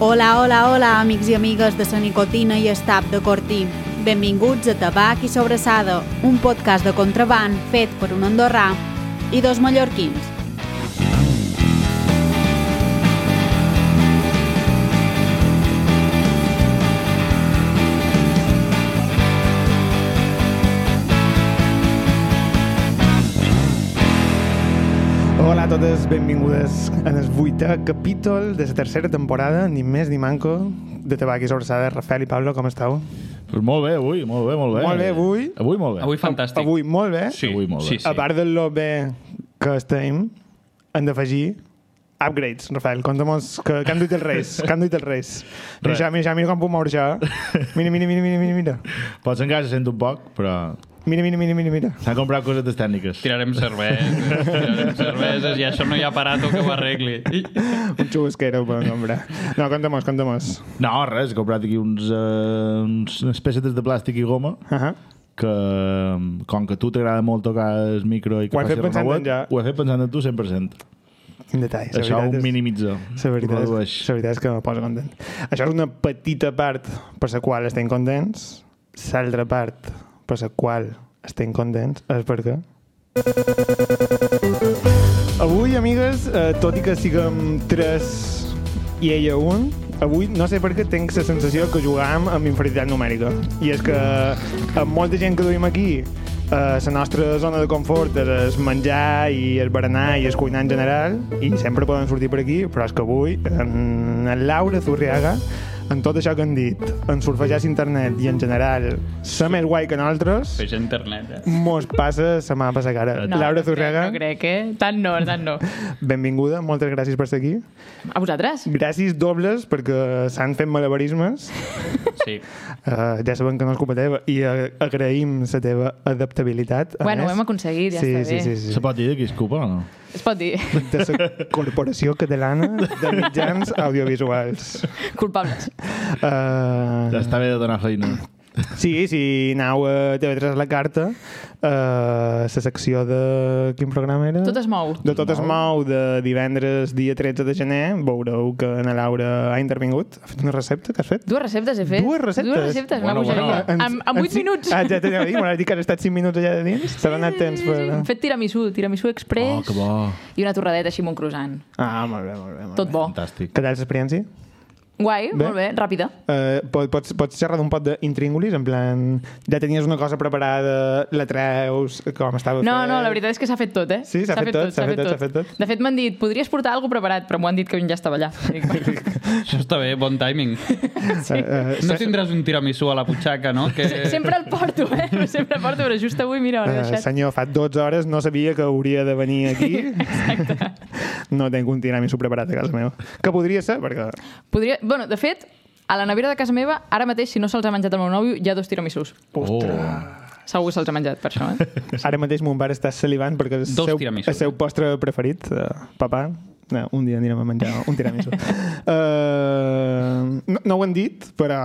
Hola, hola, hola, amics i amigues de la nicotina i estap de Cortí. Benvinguts a Tabac i Sobressada, un podcast de contraband fet per un andorrà i dos mallorquins. Hola a totes, benvingudes en el vuitè capítol de la tercera temporada, ni més ni manco, de Tabac i Sobressada. Rafael i Pablo, com esteu? Pues molt bé, avui, molt bé, molt bé. Molt bé, avui. Avui molt bé. Avui fantàstic. Avui molt bé. Sí, Avui molt bé. sí, sí. A part de lo bé que estem, hem d'afegir upgrades, Rafael. Conta'm-nos que, que han duit els reis. Que han duit els reis. Mira, Res. això, mira, això, mira com puc moure això. Mira, mira, mira, mira, mira, mira. Pots encara se sent un poc, però Mira, mira, mira, mira, mira. s'han comprat cosetes tècniques. Tirarem cerveses, tirarem cerveses i això no hi ha aparato que ho arregli. I... Un xubasquero, per nombre. No, conta'm-nos, conta'm-nos. No, res, he comprat aquí uns, eh, uns, unes pessetes de plàstic i goma Uh -huh. que, com que a tu t'agrada molt tocar el micro i que Ho he faci fet pensant remot, en ja. Ho he fet pensant en tu 100%. Quin detall. la Això veritat ho és- minimitza. La veritat, ho és, redueix. la veritat és que me posa content. Això és una petita part per la qual estem contents. L'altra part per la qual estem contents és perquè... Avui, amigues, eh, tot i que siguem tres i ella un, avui no sé per què tinc la sensació que jugàvem amb inferioritat numèrica. I és que amb molta gent que duim aquí, eh, la nostra zona de confort és el menjar i el berenar i el cuinar en general, i sempre poden sortir per aquí, però és que avui, en el Laura Zurriaga, en tot això que han dit, en surfejar internet i en general ser més guai que nosaltres, Feix internet, eh? mos passa la mà per la cara. No, Laura crec, Zurriaga, No crec, eh? Tant no, tant no. benvinguda, moltes gràcies per estar aquí. A vosaltres? Gràcies dobles perquè s'han fet malabarismes. Sí. Uh, ja sabem que no és culpa teva i uh, agraïm la teva adaptabilitat. A Bueno, més, ho hem aconseguit, ja sí, està sí, bé. sí, sí, Se pot dir de qui és culpa o no? Es pot dir. De la Corporació Catalana de Mitjans Audiovisuals. Culpables. Uh, Està bé de donar feina. sí, sí, anau a TV3 la carta, uh, la secció de... Quin programa era? Tot es mou. De tot es mou de divendres, dia 13 de gener, veureu que Ana Laura ha intervingut. Ha fet una recepta que has fet? Dues receptes he fet. Dues receptes? Dues receptes, Bueno, una bogeria. bueno. En, en 8 cinc- minuts. Ah, ja t'anava a dir, m'has dit que has estat 5 minuts allà de dins. T'ha donat temps per... Hem fet tiramisú, tiramisú Oh, express. que bo. I una torradeta així amb un croissant. Ah, molt bé, molt bé. Molt Tot bo. Fantàstic. Què tal l'experiència? Guai, Bé. molt bé, ràpida. Uh, pots, pots xerrar d'un pot d'intríngulis? En plan, ja tenies una cosa preparada, la treus, com estava No, fet? no, la veritat és que s'ha fet tot, eh? Sí, s'ha fet tot, s'ha fet tot, s'ha fet tot. De fet, m'han dit, podries portar alguna preparat, però m'ho han dit que ja estava allà. Dic, bueno, Això està bé, bon timing. Sí. Uh, No tindràs un tiramisú a la butxaca, no? Que... Sempre el porto, eh? Sempre el porto, però just avui, mira, ho he Uh, deixat. senyor, fa 12 hores no sabia que hauria de venir aquí. Exacte. No tenc un tiramisu preparat a casa meva. Que podria ser, perquè... Podria... Bueno, de fet, a la nevera de casa meva, ara mateix, si no se'ls ha menjat el meu nòvio, hi ha dos tiramisús. Ostres. Segur que se'ls ha menjat, per això, eh? Ara mateix mon pare està salivant perquè és Dos eh? seu, tiramisus. el seu postre preferit. Uh, papà, no, un dia anirem a menjar un tiramisu. uh, no, no ho han dit, però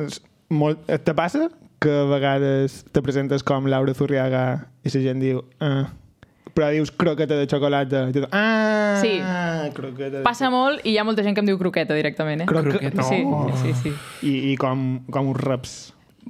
és molt, eh, te passa que a vegades te presentes com Laura Zurriaga i la gent diu... Uh, però dius croqueta de xocolata. I tu, ah, Sí. croqueta de Passa molt i hi ha molta gent que em diu croqueta directament, eh? Croque- Croqueta. No. Sí, sí, sí. I, i com, com uns reps.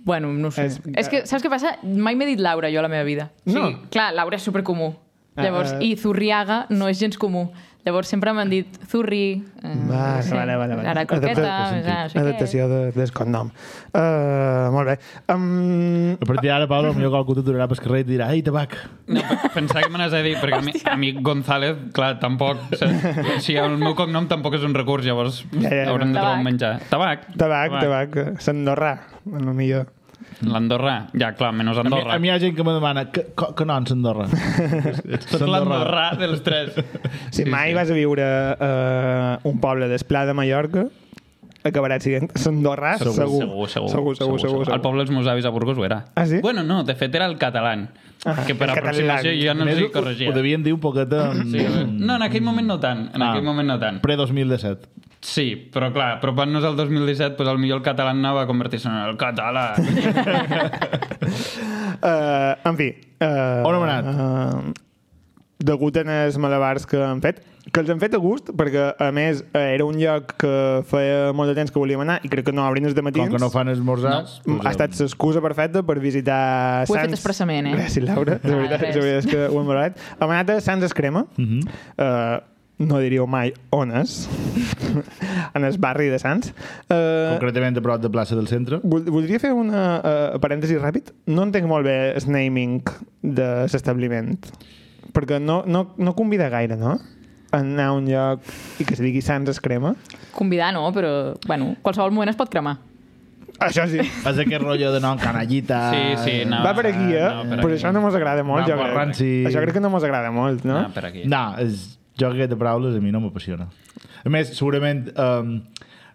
Bueno, no ho sé. És- És, és que, saps què passa? Mai m'he dit Laura, jo, a la meva vida. No. clar, Laura és supercomú. Ah, Llavors, eh. i Zurriaga no és gens comú. Llavors sempre m'han dit Zurri... Eh, Vale, vale, vale, vale. Ara croqueta, Adaptació- ah, no sé Adaptació de, del cognom. Uh, molt bé. Um, A partir d'ara, Pablo, millor que algú t'aturarà pel carrer i et dirà «Ei, tabac!» No, pe- pensava que me n'has de dir, perquè a mi, a mi González, clar, tampoc... saps? Si el meu cognom tampoc és un recurs, llavors Ja, ja, ja. haurem de trobar Tabac. un menjar. Tabac. Tabac, tabac. S'endorrà, a lo millor. L'Andorra. Ja, clar, menys A mi, Andorra. a mi hi ha gent que me demana que, que, que no, en Andorra. Tot l'Andorra dels tres. Si mai vas a viure a un poble d'Esplà de Mallorca, acabaràs sent s'endorrà, Ah, segur. Segur, segur, segur. segur, segur, segur, El poble dels meus avis a Burgos ho era. Ah, sí? Bueno, no, de fet era el català. Ah, Ah, que per el aproximació catalán. jo no Més, sé ho- corregia. Ho devien dir un poquet de... Sí, a veure. no, en aquell moment no tant. En Ah. aquell moment no tant. Pre-2017. Sí, però clar, apropant-nos al 2017, doncs potser el català anava a convertir-se en el català. Uh, en fi. Uh, On hem anat? Uh, degut en els malabars que han fet, que els han fet a gust, perquè, a més, eh, era un lloc que feia molt de temps que volíem anar i crec que no obrin els de matins. Com que no fan esmorzars... Mm, Ha estat l'excusa perfecta per visitar Ho he Sants. fet expressament, eh? Gràcies, Laura. De Ah, veritat, res. de veritat és que ho hem valorat. Hem anat a Sants es crema. Mm Mhm. -hmm. uh, no diríeu mai on és, en el barri de Sants. Uh, Concretament a prop de plaça del centre. vol- voldria fer una uh, parèntesi ràpid. No entenc molt bé el naming de l'establiment, perquè no, no, no convida gaire, no? A anar a un lloc i que se digui Sants es crema. Convidar no, però, bueno, qualsevol moment es pot cremar. Això sí. És aquest rotllo de nom, canallita... Sí, sí, no. Va per aquí, eh? no, No, per per aquí. això no mos agrada molt, Va jo per crec. ranci. Això crec que no mos agrada molt, no? Ah, per aquí. No, és, jo aquest de paraules a mi no m'apassiona. A més, segurament um,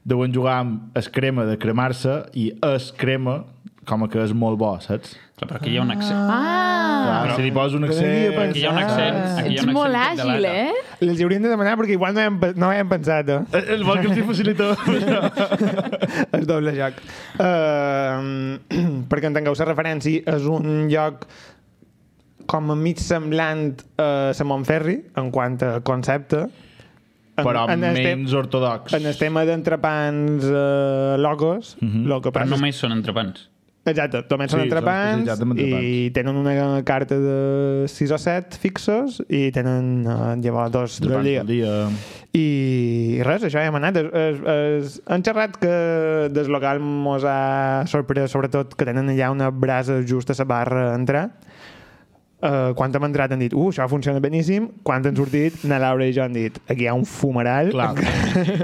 deuen jugar amb es crema de cremar-se i es crema com a que és molt bo, saps? Clar, però aquí hi ha un accent. Ah! Clar, però- si li poses un Però havia accent... pensat- Aquí hi ha un accent. Aquí hi ha Ets un accent molt que et àgil, delata. eh? Els hauríem de demanar perquè igual no hem, no hem pensat eh? Eh, El vol que els hi facilita. el doble joc. Uh, perquè entengueu la referència, és un lloc com a mig semblant a la Montferri, en quant a concepte. En, Però en el te- menys ortodox. en el tema d'entrepans uh, locos, mm -hmm. lo que Mhm. Però passa... només són entrepans. Exacte, només són Sí, són entrepans, especialitzats en i entrepans. tenen una carta de 6 o 7 fixos i tenen uh, llavors dos del Entrepans dia. del dia. I res, això hem anat. Es, es, es, han xerrat que des local mos ha sorprès, sobretot, que tenen allà una brasa just a la barra a entrar. Uh, quan hem entrat han dit, uh, això funciona beníssim. Quan han sortit, na Laura i jo han dit, aquí hi ha un fumarall. Clar.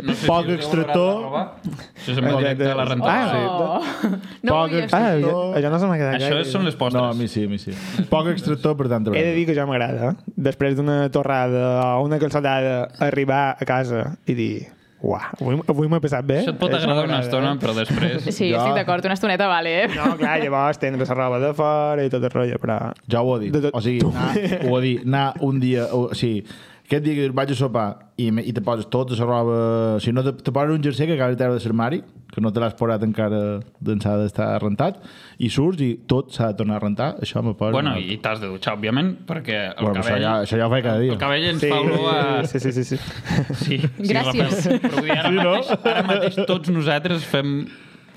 No sé Poc us heu extractor. acabat de robar. Això és un projecte de la Ah, rentadora. Oh. No Poc vull Ah, això. això, això no se m'ha sí. quedat Això gaire. són les No, a postres. mi sí, a mi sí. Poc extractor, per tant, He de dir que jo m'agrada. eh? Després d'una torrada o una calçotada, arribar a casa i dir, uah, avui, avui m'ha passat bé. Això Eh? et pot agradar una m'agrada, estona, però després... Sí, Ja. estic d'acord, una estoneta vale, eh? No, clar, llavors tindre la roba de fora i tot el rotllo, però... Ja ho he dit. De tot- O sigui, anar, ho he dit, anar un dia... O, o sigui, aquest dia que dius, vaig a sopar i, me- i te poses tota la roba... O sigui, no te, te poses un jersei que acabes de treure de l'armari, que no te l'has posat encara d'ençà d'estar rentat, i surts i tot s'ha de tornar a rentar. Això me posa... Bueno, i t'has de dutxar, òbviament, perquè el Bueno, això, cabell... ja, això ja ho faig cada dia. El cabell ens fa olor a... sí, sí, sí, sí. Sí, sí, Gràcies. Rafael. Però vull dir, ara, Sí, no? mateix, ara mateix tots nosaltres fem,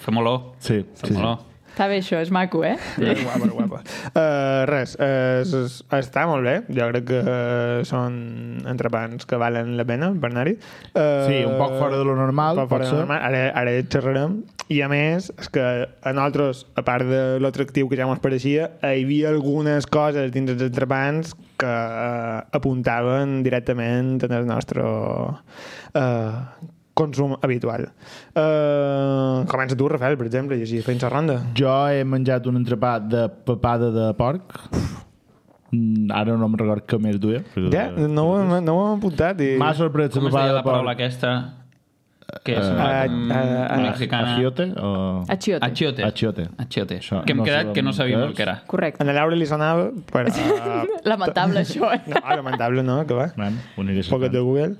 fem olor. Sí, sí, Fem sí. olor. Està bé això, és maco, eh? guapa, guapa. Uh, res, uh, s- està molt bé. Jo crec que uh, són entrepans que valen la pena per anar-hi. Uh, Sí, un poc fora de lo normal, Un poc fora de potser. lo normal. Ara, ara xerrarem. I a més, és que a nosaltres, a part de l'atractiu que ja mos pareixia, hi havia algunes coses dins els entrepans que uh, apuntaven directament en el nostre... Uh, consum habitual. Uh, comença tu, Rafael, per exemple, i així fent la ronda. Jo he menjat un entrepà de papada de porc. Mm, Ara no em record què més duia. però- Ja, no ho, hem, no ho hem apuntat i... M'ha sorprès Com la es deia papada la de paraula porc. aquesta? Que és Eh, una eh, eh, uh, mexicana. Agiote? O... Achiote. Achiote. Achiote. Achiote. Això Que hem no quedat sabem que no què sabíem el és. que era. Correcte. A la Laura li sonava, però... Lamentable, això, eh? No, lamentable no, que va. Man, ho aniré Pocket de cercant. Google.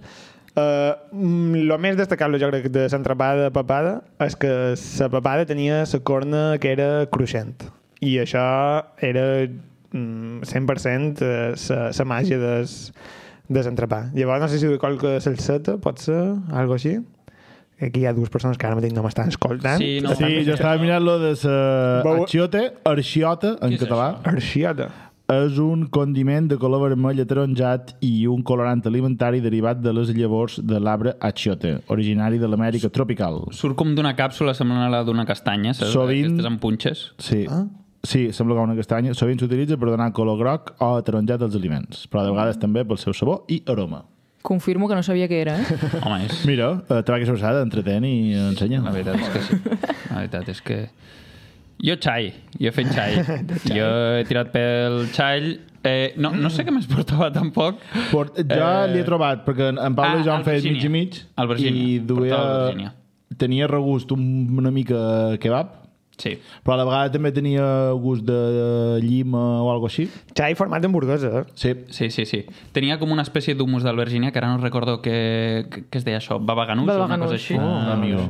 Uh, lo més destacable, jo crec, de l'entrepada de papada és que la papada tenia la corna que era cruixent. I això era mm, 100% la eh, màgia des, des entrepà. Llavors, no sé si ho colca salseta, pot ser, algo així. Aquí hi ha dues persones que ara mateix no m'estan escoltant. Sí, no. Sí, jo estava mirant-lo de sa... Vau- Achiote, arxiota, en és català. Arxiota. És un condiment de color vermell ataronjat i un colorant alimentari derivat de les llavors de l'arbre achiote, originari de l'Amèrica tropical. Surt com d'una càpsula semblant a la d'una castanya, saps? Sovint- Aquestes amb punxes. Sí. Ah? Sí, sembla com una castanya. Sovint s'utilitza per donar color groc o ataronjat als aliments, però de vegades també pel seu sabor i aroma. Confirmo que no sabia què era, eh? Home, és... Mira, eh, tabac i sobressada, entretén i ensenya. La veritat és que sí. La veritat és que... Jo xai, jo he fet xai. Jo he tirat pel xai. Eh, no, no sé què més portava tampoc. Port, jo eh... l'hi he trobat, perquè en en Pablo Ah, i jo hem fet mig albergínia. i mig. Albergínia. I Portava duia... albergínia. Tenia regust un- una mica eh, kebab, Sí. però a la vegada també tenia gust de llima o alguna així. Xai format eh? d'hamburguesa. Sí. Sí, sí, sí. Tenia com una espècie d'humus d'albergínia, que ara no recordo què, què es deia això, babaganús o una Babaganús. cosa així. Oh, amigo.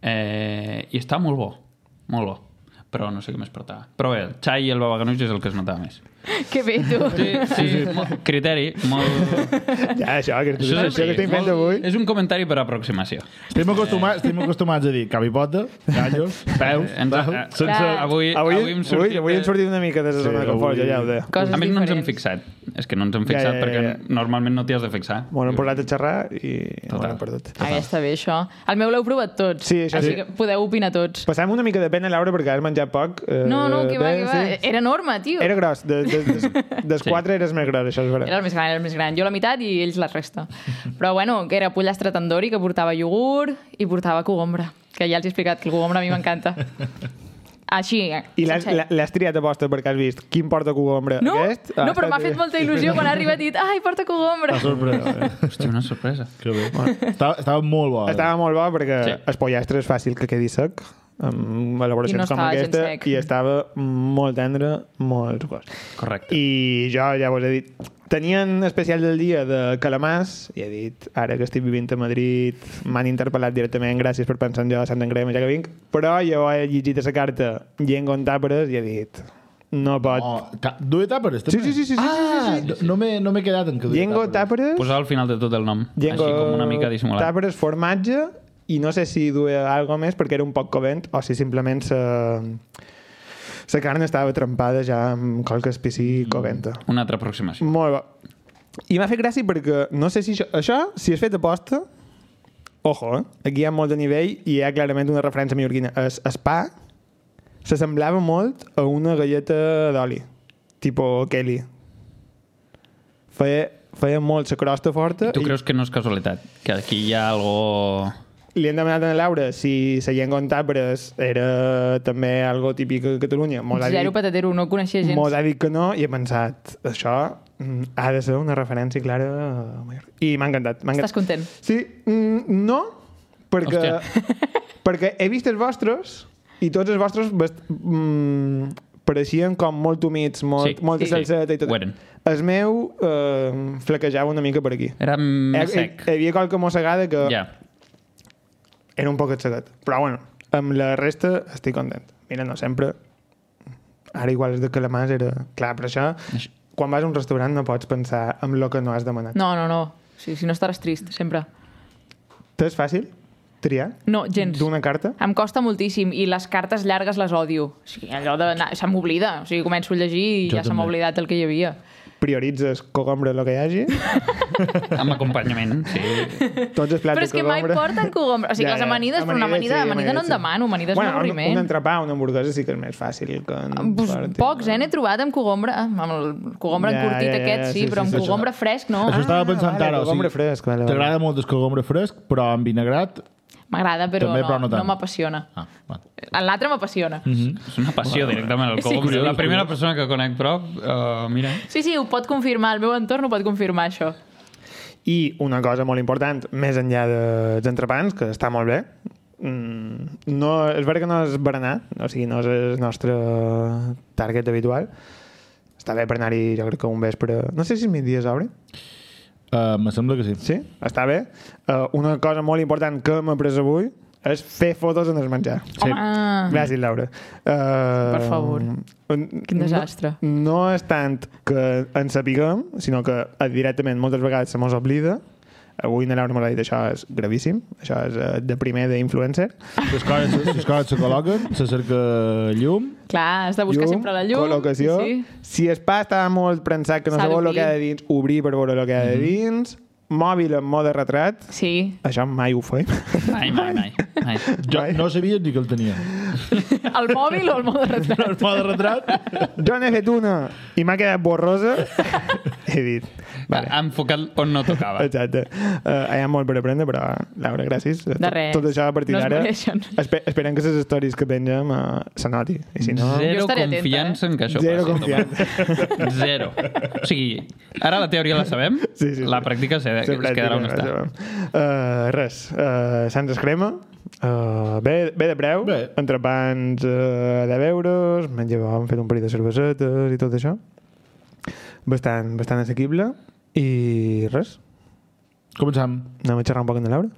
Eh, I està molt bo, molt bo. Però no sé què més portava. Però bé, el xai i el babaganús és el que es notava més. Que bé, tu. Sí, sí, mo- criteri, molt... Ja, això, que, Això és això que així, estem fent molt- avui. És un comentari per aproximació. Estem acostumats, estem acostumats a dir cabipota, gallos, peus, Ens, tal, a, eh, sense... Clar. eh, avui, Avui, avui, hem avui, sortit... avui hem de- sortit una mica de la Sí, zona de confort, avui- ja ho deia. Coses A més, no ens hem diferents. fixat. És que no ens hem fixat ja, perquè ja. normalment no t'hi has de fixar. Bueno, hem posat a xerrar i ho Total. hem perdut. Ai, Ah, està bé, això. El meu l'heu provat tots. Sí, això Així sí. que podeu opinar tots. Passàvem una mica de pena, Laura, perquè has menjat poc. Eh, No, no, que va, bé, que va. sí? Era enorme, tio. Era gros, de, de, de, des Sí. quatre eres més gros, això és Era veritat. el més gran, era el més gran. Jo la meitat i ells la resta. Però bueno, que era pollastre tandoori, que portava iogurt i portava cogombre, que ja els he explicat que el cogombre a mi m'encanta. Així, eh, I l'has- sencer. l'ha- l'has triat a posta perquè has vist quin porta cogombre No, aquest? eh, no, però m'ha fet molta il·lusió quan ha arribat i dit ai, porta cogombre. La sorpresa. Hòstia, una sorpresa. Que bé. Estava, estava molt bo. eh? Estava molt bo perquè sí. Sí. el pollastre és fàcil que quedi sec amb I elaboracions no com estava gens aquesta sec. i estava molt tendre, molt sucós. Correcte. I jo ja vos he dit, tenien especial del dia de calamars i he dit, ara que estic vivint a Madrid m'han interpel·lat directament, gràcies per pensar en jo a Sant Engrema, ja que vinc, però jo he llegit la carta llengua en tàperes i he dit, no pot... Oh, ta- dues tàperes, Sí, també? Ah, sí, sí, sí, sí, sí, sí, sí. No, no m'he no m'he quedat en que dues Llengua tàperes... Posar al final de tot el nom, Llengua, així com una mica dissimulat. Tàperes, formatge, i no sé si duia alguna més perquè era un poc covent o si simplement sa, sa carn estava trempada ja amb qualque espècie Mm. coventa. Una altra aproximació. Molt bo. I m'ha fet gràcia perquè no sé si això, això si és fet aposta, ojo, eh? aquí hi ha molt de nivell i hi ha clarament una referència mallorquina. Es, es pa s'assemblava molt a una galleta d'oli, tipo Kelly. Feia, feia molt la crosta forta Tu creus que no és casualitat? Que aquí hi ha algo... li han demanat a la Laura si la llengua en tàperes era també algo típic a Catalunya. Mos ha, Zero dit, patatero, no coneixia gens. mos ha dit que no i he pensat, això mm, ha de ser una referència clara a Mallorca. I m'ha encantat. m'ha Estàs encantat. content? Sí, mm, no, perquè, perquè he vist els vostres i tots els vostres bast... mm, pareixien com molt humits, molt, Sí, molta sí, salseta i ho tot. eren. El meu eh, flaquejava una mica per aquí. Era més Hi, sec. hi havia qualque mossegada que... Ja. Era un poc aixecat. Però bueno, amb la resta estic content. Mira, no sempre... Ara igual és de calamars era... Clar, però això... Això. Quan vas a un restaurant no pots pensar en lo que no has demanat. No, no, no. Sí, si no estaràs trist, sempre. T'és fàcil triar No, Ah. gens. d'una carta? Em costa moltíssim i les cartes llargues les odio. O sigui, allò de... na- Se m'oblida. O sigui, començo a llegir i Jo ja se m'ha també. oblidat el que hi havia. Prioritzes cogombre lo que hi hagi? Amb acompanyament, sí. Tots els plats Però és de que mai cogombre... porten cogombre. O sigui, les amanides, però una amanida, amanida no en demano, amanida és bueno, un avorriment. Ah, Un, un entrepà, una hamburguesa sí que és més fàcil que... En Pues, pocs, eh? N'he trobat amb cogombre, ah, amb el cogombre Ja, encurtit ja, ja, aquest, sí, sí, sí, però amb sí, això- cogombre fresc, no. Això estava Ah, pensant vale, ara. cogombre fresc, vale, vale. T'agrada molt el cogombre fresc, però amb vinagrat... M'agrada, però, També, no, però no tant. no m'apassiona. Ah, vale. En L'altre m'apassiona. Mm. Mhm. És una passió directament al cogombre. La primera persona que conec prop, uh, mira... Sí, sí, ho pot confirmar, el meu entorn ho pot confirmar, això. I una cosa molt important, més enllà dels entrepans, que està molt bé, mm, no, és veritat que no és berenar, o sigui, no és el nostre target habitual, està bé per anar-hi, jo crec que un vespre... No sé si el migdia s'obre. Uh, me sembla que sí. Sí, està bé. Uh, una cosa molt important que m'he après avui és fer fotos en el menjar. Sí. Home, Gràcies, Laura. Uh, Per favor. Quin desastre. No, no és tant que en sapiguem, sinó que eh, directament moltes vegades se mos oblida. Avui na Laura m'ho ha dit, això és gravíssim, això és eh, de primer d'influencer. Si les coses, si les coses se col·loquen, se cerca llum... clar, has de buscar sempre la llum. Col·locació. Sí, Si el pa estava molt prensat, que no S'ha sabeu el d'obrir. que hi ha de dins, obrir per veure el que hi ha de dins, mòbil en mode retrat, sí. sí. això mai ho feim. Mai, mai, mai. mai. Jo no sabia ni que el tenia. El mòbil o el mode retrat? El mode retrat... jo n'he fet una i m'ha quedat borrosa. He dit, Vale. Ha enfocat on no tocava. Exacte. Uh, hi ha molt per aprendre, però Laura, gràcies. De res. Tot això a partir No es d'ara. mereixen. Espe esperem que les stories que pengem uh, se noti. I si no... Jo Zero estaré atenta, confiança en que això Zero passi. confiança. Tomàs. Zero. O sigui, ara la teoria la sabem, Sí, sí, sí. la pràctica se, es quedarà on està. Uh, res. Uh, Sants es crema. Uh, bé, bé de preu. Bé. Entrepans uh, de euros. Menja bo, hem fet un parell de cervesetes i tot això. Bastant, bastant assequible. I res. Començam. Anem a xerrar un poc amb la Laura.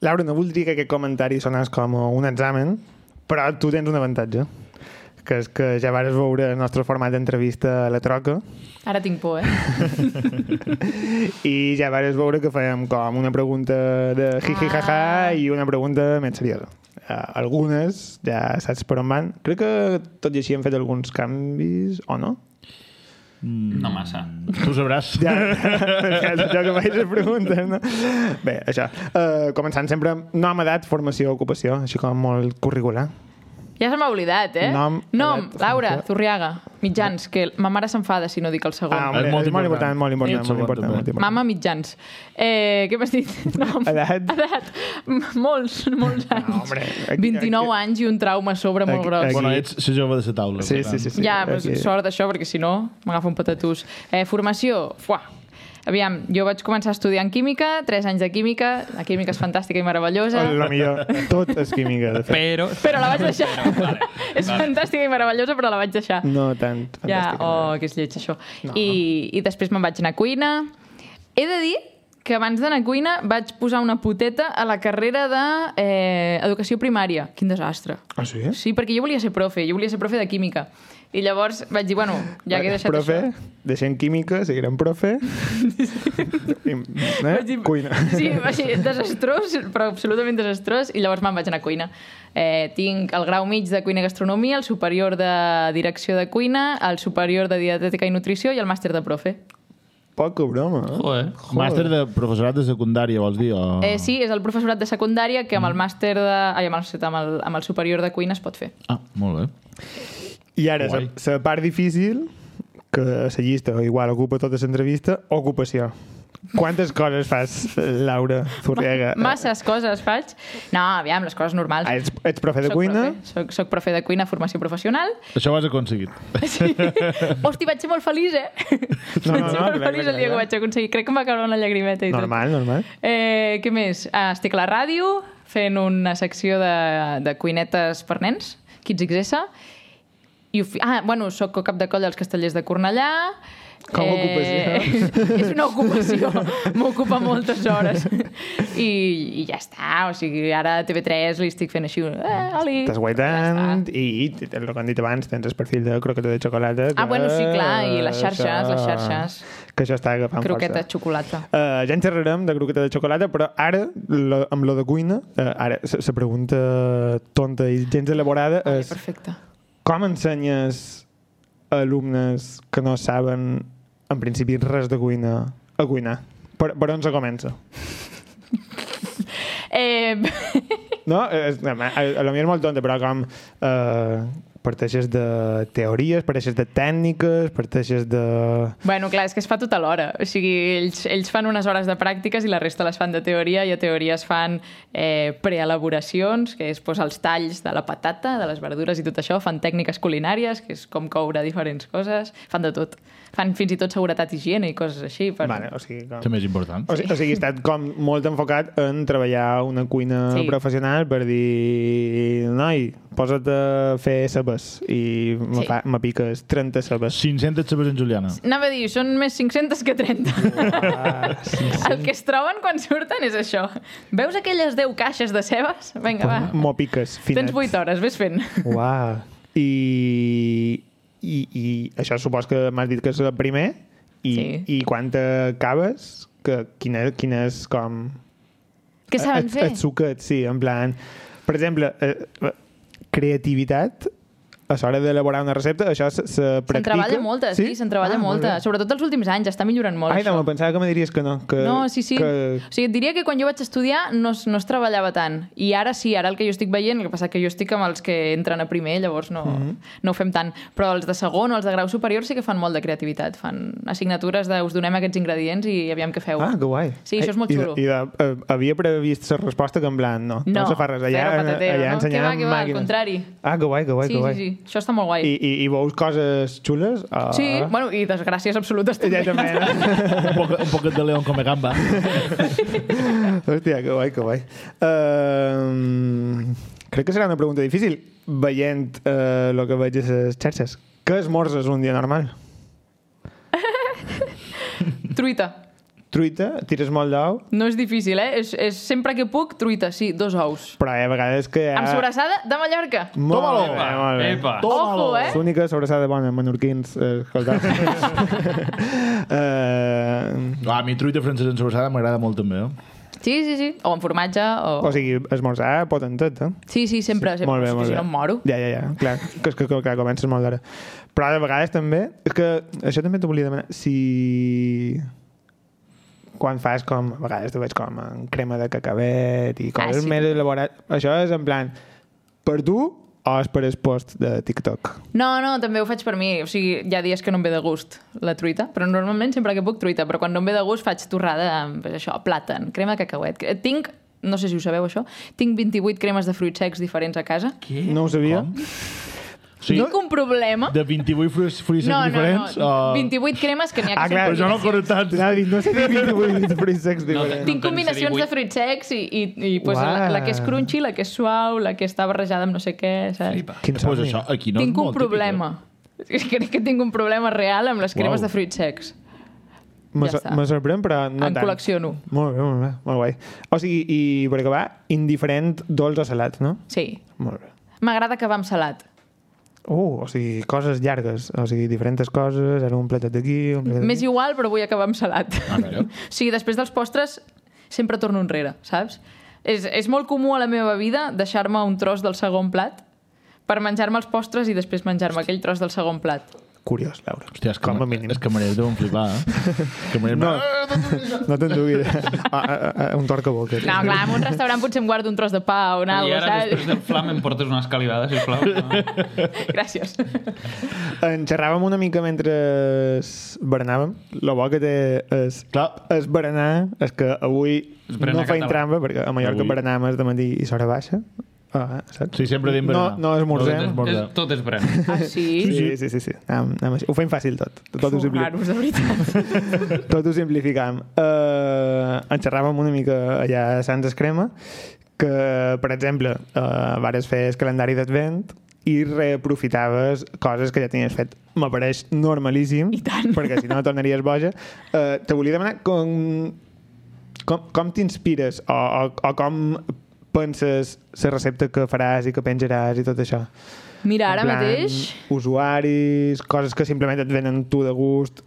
Laura, no voldria que aquest comentari sonés com un examen, però tu tens un avantatge, que és que ja vares veure el nostre format d'entrevista a la troca Ara tinc por, eh? i ja vares veure que fèiem com una pregunta de hi-hi, ha-ha i una pregunta més seriosa. Uh, algunes, ja saps per on van. Crec que tot i així hem fet alguns canvis, o no? No massa. Mm, Tu ho sabràs. Ja, ja és allò que vaig a preguntar, no? Bé, això. Uh, començant sempre amb nom, edat, formació, ocupació, així com molt curricular. Ja se m'ha oblidat, eh? Nom, Nom edat, Laura, funció. Zurriaga. Mitjans, que ma mare s'enfada si no dic el segon. Ah, molt és molt important, important. molt important, Sí, molt important. segon, Molt important. Mama mitjans. Eh, què m'has dit? No. Edat? Edat. M- Molts, molts anys. No, hombre, aquí- 29 aquí- anys i un trauma a sobre molt Aquí- gros. aquí- Bueno, ets la jove de la taula. Sí, per tant. sí, sí, sí. ja, però Aquí- sort d'això, perquè si no m'agafa un patatús. Eh, formació, fuà. Aviam, jo vaig començar estudiant química, 3 anys de química, la química és fantàstica i meravellosa. La millor. Tot és química, de fet. Però... Però la vaig deixar. vale, és fantàstica i meravellosa, però la vaig deixar. No tant. Ja, Mm, fantàstica. oh, que és lleig, això. I, I després me'n vaig anar a cuina. He de dir que abans d'anar a cuina vaig posar una puteta a la carrera d'educació eh, educació primària. Quin desastre. Ah, sí? Sí, perquè jo volia ser profe, jo volia ser profe de química. I llavors vaig dir, bueno, ja que he deixat profe, això... deixem química, seguirem profe. I, eh? Vaig dir- Cuina. Sí, va ser desastrós, però absolutament desastrós, i llavors me'n vaig anar a cuina. Eh, tinc el grau mig de cuina i gastronomia, el superior de direcció de cuina, el superior de dietètica i nutrició i el màster de profe. Poca broma. eh? Joder. Màster de professorat de secundària, vols dir? Ah. O... Eh, sí, és el professorat de secundària que amb el màster de... Ai, amb el, amb el, amb el superior de cuina es pot fer. Ah, molt bé. I ara, la, Guai. la part difícil, que la llista igual ocupa tota l'entrevista, ocupació. Quantes coses fas, Laura Zurriaga? Masses coses faig. No, aviam, les coses normals. Ah, ets, ets profe de Soc cuina? Profe, soc, soc profe de cuina, formació professional. Això ho has aconseguit. Sí. Hosti, vaig ser molt feliç, eh? No, vaig no, ser no, molt clar, feliç clar, el dia que ho clar. vaig aconseguir. Crec que em va caure una llagrimeta i tot. Normal, normal. Eh, què més? Ah, estic a la ràdio fent una secció de, de cuinetes per nens, Kids XS. I ho fi... Ah, bueno, sóc cap de coll als castellers de Cornellà. Eh, Com a ocupació. És una ocupació. M'ocupa moltes hores. I, I ja està. O sigui, ara a TV3 li estic fent així... un, Eh, oli. Estàs guaitant i, i el que han dit abans, tens el perfil de croqueta de xocolata. Que, Ah, bueno, sí, clar, i les xarxes, això- les xarxes. Que això està agafant Croqueta, força. xocolata. Uh, ja en xerrarem de croqueta de xocolata, però ara, lo, amb lo de cuina, uh, ara, la pregunta tonta i gens elaborada és Perfecte. com ensenyes a alumnes que no saben en principi res de cuina a cuinar? Per, per on se comença? Eh, No? Eh, és- A, a, a lo millor és molt tonta, però com... Eh, parteixes de teories, parteixes de tècniques, parteixes de... Bueno, clar, és que es fa tota l'hora. O sigui, ells, ells fan unes hores de pràctiques i la resta les fan de teoria i a teoria es fan eh, preelaboracions, que és pues, els talls de la patata, de les verdures i tot això. Fan tècniques culinàries, que és com coure diferents coses. Fan de tot. Fan fins i tot seguretat i higiene i coses així. Per... Vale, o sigui, Això com... és més important. O sigui, o sigui, he estat com molt enfocat en treballar una cuina Sí. sí. professional per dir, noi, posa't a fer cebes i me, Sí. fa, me piques 30 cebes. 500 sabes en Juliana. Anava a dir, són més 500 que 30. El que es troben quan surten és això. Veus aquelles 10 caixes de cebes? Vinga, va. M'ho piques, finets. Tens 8 hores, vés fent. Uau. I, i, i això supos que m'has dit que és el primer i, sí. Sí. i quan t'acabes que, quin, és, quin és com Què saben et, fer? et suquet, sí, en plan per exemple eh, creativitat a l'hora d'elaborar una recepta això se, se Se'n practica treballa molta, sí, se'n treballa ah, molta. molt bé. Sobretot els últims anys, està millorant molt Ai, això. no, me pensava que me diries que no que, No, sí, sí. que... Que... O sigui, et diria que quan jo vaig estudiar no es, no es treballava tant. I ara sí, ara el que jo estic veient, el que passa que jo estic amb els que entren a primer, llavors no, Mhm. mm -hmm. no ho fem tant. Però els de segon o els de grau superior sí que fan molt de creativitat. Fan assignatures de us donem aquests ingredients i aviam què feu. Ah, que guai. Sí, això és molt I de- xulo. I, de, eh, havia previst la resposta que en plan, no, no, No, se fa res. Allà, zero patatero, allà no? ensenyant Que va, que va, al màquines. contrari. Ah, que guai, que guai, sí, que sí, guai. sí, això està molt guai. I, i, i veus coses xules? Uh, Sí, bueno, i desgràcies absolutes també. Ja també. Un, poc, un poquet de León come gamba. Hòstia, que guai, que guai. Uh, crec que serà una pregunta difícil, veient el uh, que veig a les xarxes. Què esmorzes un dia normal? Truita. truita, tires molt d'ou, No és difícil, eh? És, és sempre que puc, truita, sí, dos ous. però hi ha vegades que... Eh. Hi ha... Amb sobrassada de Mallorca. Molt Toma-lo. bé, molt bé. Epa. Ojo, eh? És l'única sobrassada bona, menorquins, eh, escolta. eh, Ah, a mi truita francesa en sobrassada m'agrada molt també, eh? Sí, sí, sí. O amb formatge, o... o sigui, esmorzar potentet, eh? Sí, sí, sempre. sempre. Molt bé, O sigui, molt si bé. no em moro. Ja, ja, ja, clar, que, és que, que, que comences molt d'hora. Però de vegades també, és que això també t'ho volia demanar, si quan fas com, a vegades t'ho veig com en crema de cacabet i coses ah, sí. sí. més elaborades, això és en plan per tu o és per el post de TikTok? No, no, també ho faig per mi. O sigui, hi ha dies que no em ve de gust la truita, però normalment sempre que puc truita, però quan no em ve de gust faig torrada amb pues, això, plàtan, crema de cacauet. Eh, Tinc, no sé si ho sabeu això, tinc 28 cremes de fruits secs diferents a casa. Què? No ho sabia. Com? Sí. Sí, Tinc un problema. de 28 fruits, fruits No, no, no, diferents? o- 28 cremes que n'hi ha que Ah, són clar, Però jo no combinacions. conec tant. T'ha dit, no sé si vinc de fruits secs diferents. Tinc No en combinacions tens de fruits secs i, i, i pues, la, Uau. la que és crunchy, la que és suau, la que està barrejada amb no sé què, saps? Flipa. Quin Pues somni. això, aquí no tinc és un molt eh? problema. Crec que tinc un problema real amb les cremes Uau. de fruits secs. Me, Ja so- està. me sorprèn, però no En tant. col·lecciono. Molt bé, molt bé, molt guai. O sigui, i per acabar, indiferent dolç o salat, no? Sí. Molt bé. M'agrada que va amb salat. Uh, o sigui, coses llargues, o sigui, diferents coses, ara un platet d'aquí, un platet M'és d'aquí... igual, però vull acabar amb salat. mira. o sigui, després dels postres sempre torno enrere, saps? És, és molt comú a la meva vida deixar-me un tros del segon plat per menjar-me els postres i després menjar-me aquell tros del segon plat. Curiós, Laura. Hòstia, és que, Com a mínim. és que Maria deuen flipar, eh? És que Maria... No, No. no t'enduguis. Ah, ah, ah, un torca boca. No, clar, en un restaurant potser em guardo un tros de pa o una I algo, ara, després saps? del flam, em portes una escalivada, sisplau. No. Gràcies. En xerràvem una mica mentre berenàvem. Lo bo que té és... Clar, Es berenar, és que avui Es berenar no feim català. trampa, perquè a Mallorca Avui. berenam és de matí i s'hora baixa. Ah, saps? sí, sempre diem berenar. No, no esmorzem. No, Tot, és, esmorzem. tot és brand. Ah, sí? Sí, sí, sí. sí. Anem, anem així. Ho fem fàcil tot. Tot ho, Sou simpli... raros, de veritat. tot ho simplificam. Uh, en xerràvem una mica allà a Sants Escrema, que, per exemple, uh, vares fer el calendari d'advent i reaprofitaves coses que ja tenies fet. M'apareix normalíssim, I tant. perquè si no tornaries boja. Uh, te volia demanar com, com, com t'inspires o, o, o com penses la recepta que faràs i que penjaràs i tot això? Mira, ara En plan, mateix... Usuaris, coses que simplement et venen tu de gust,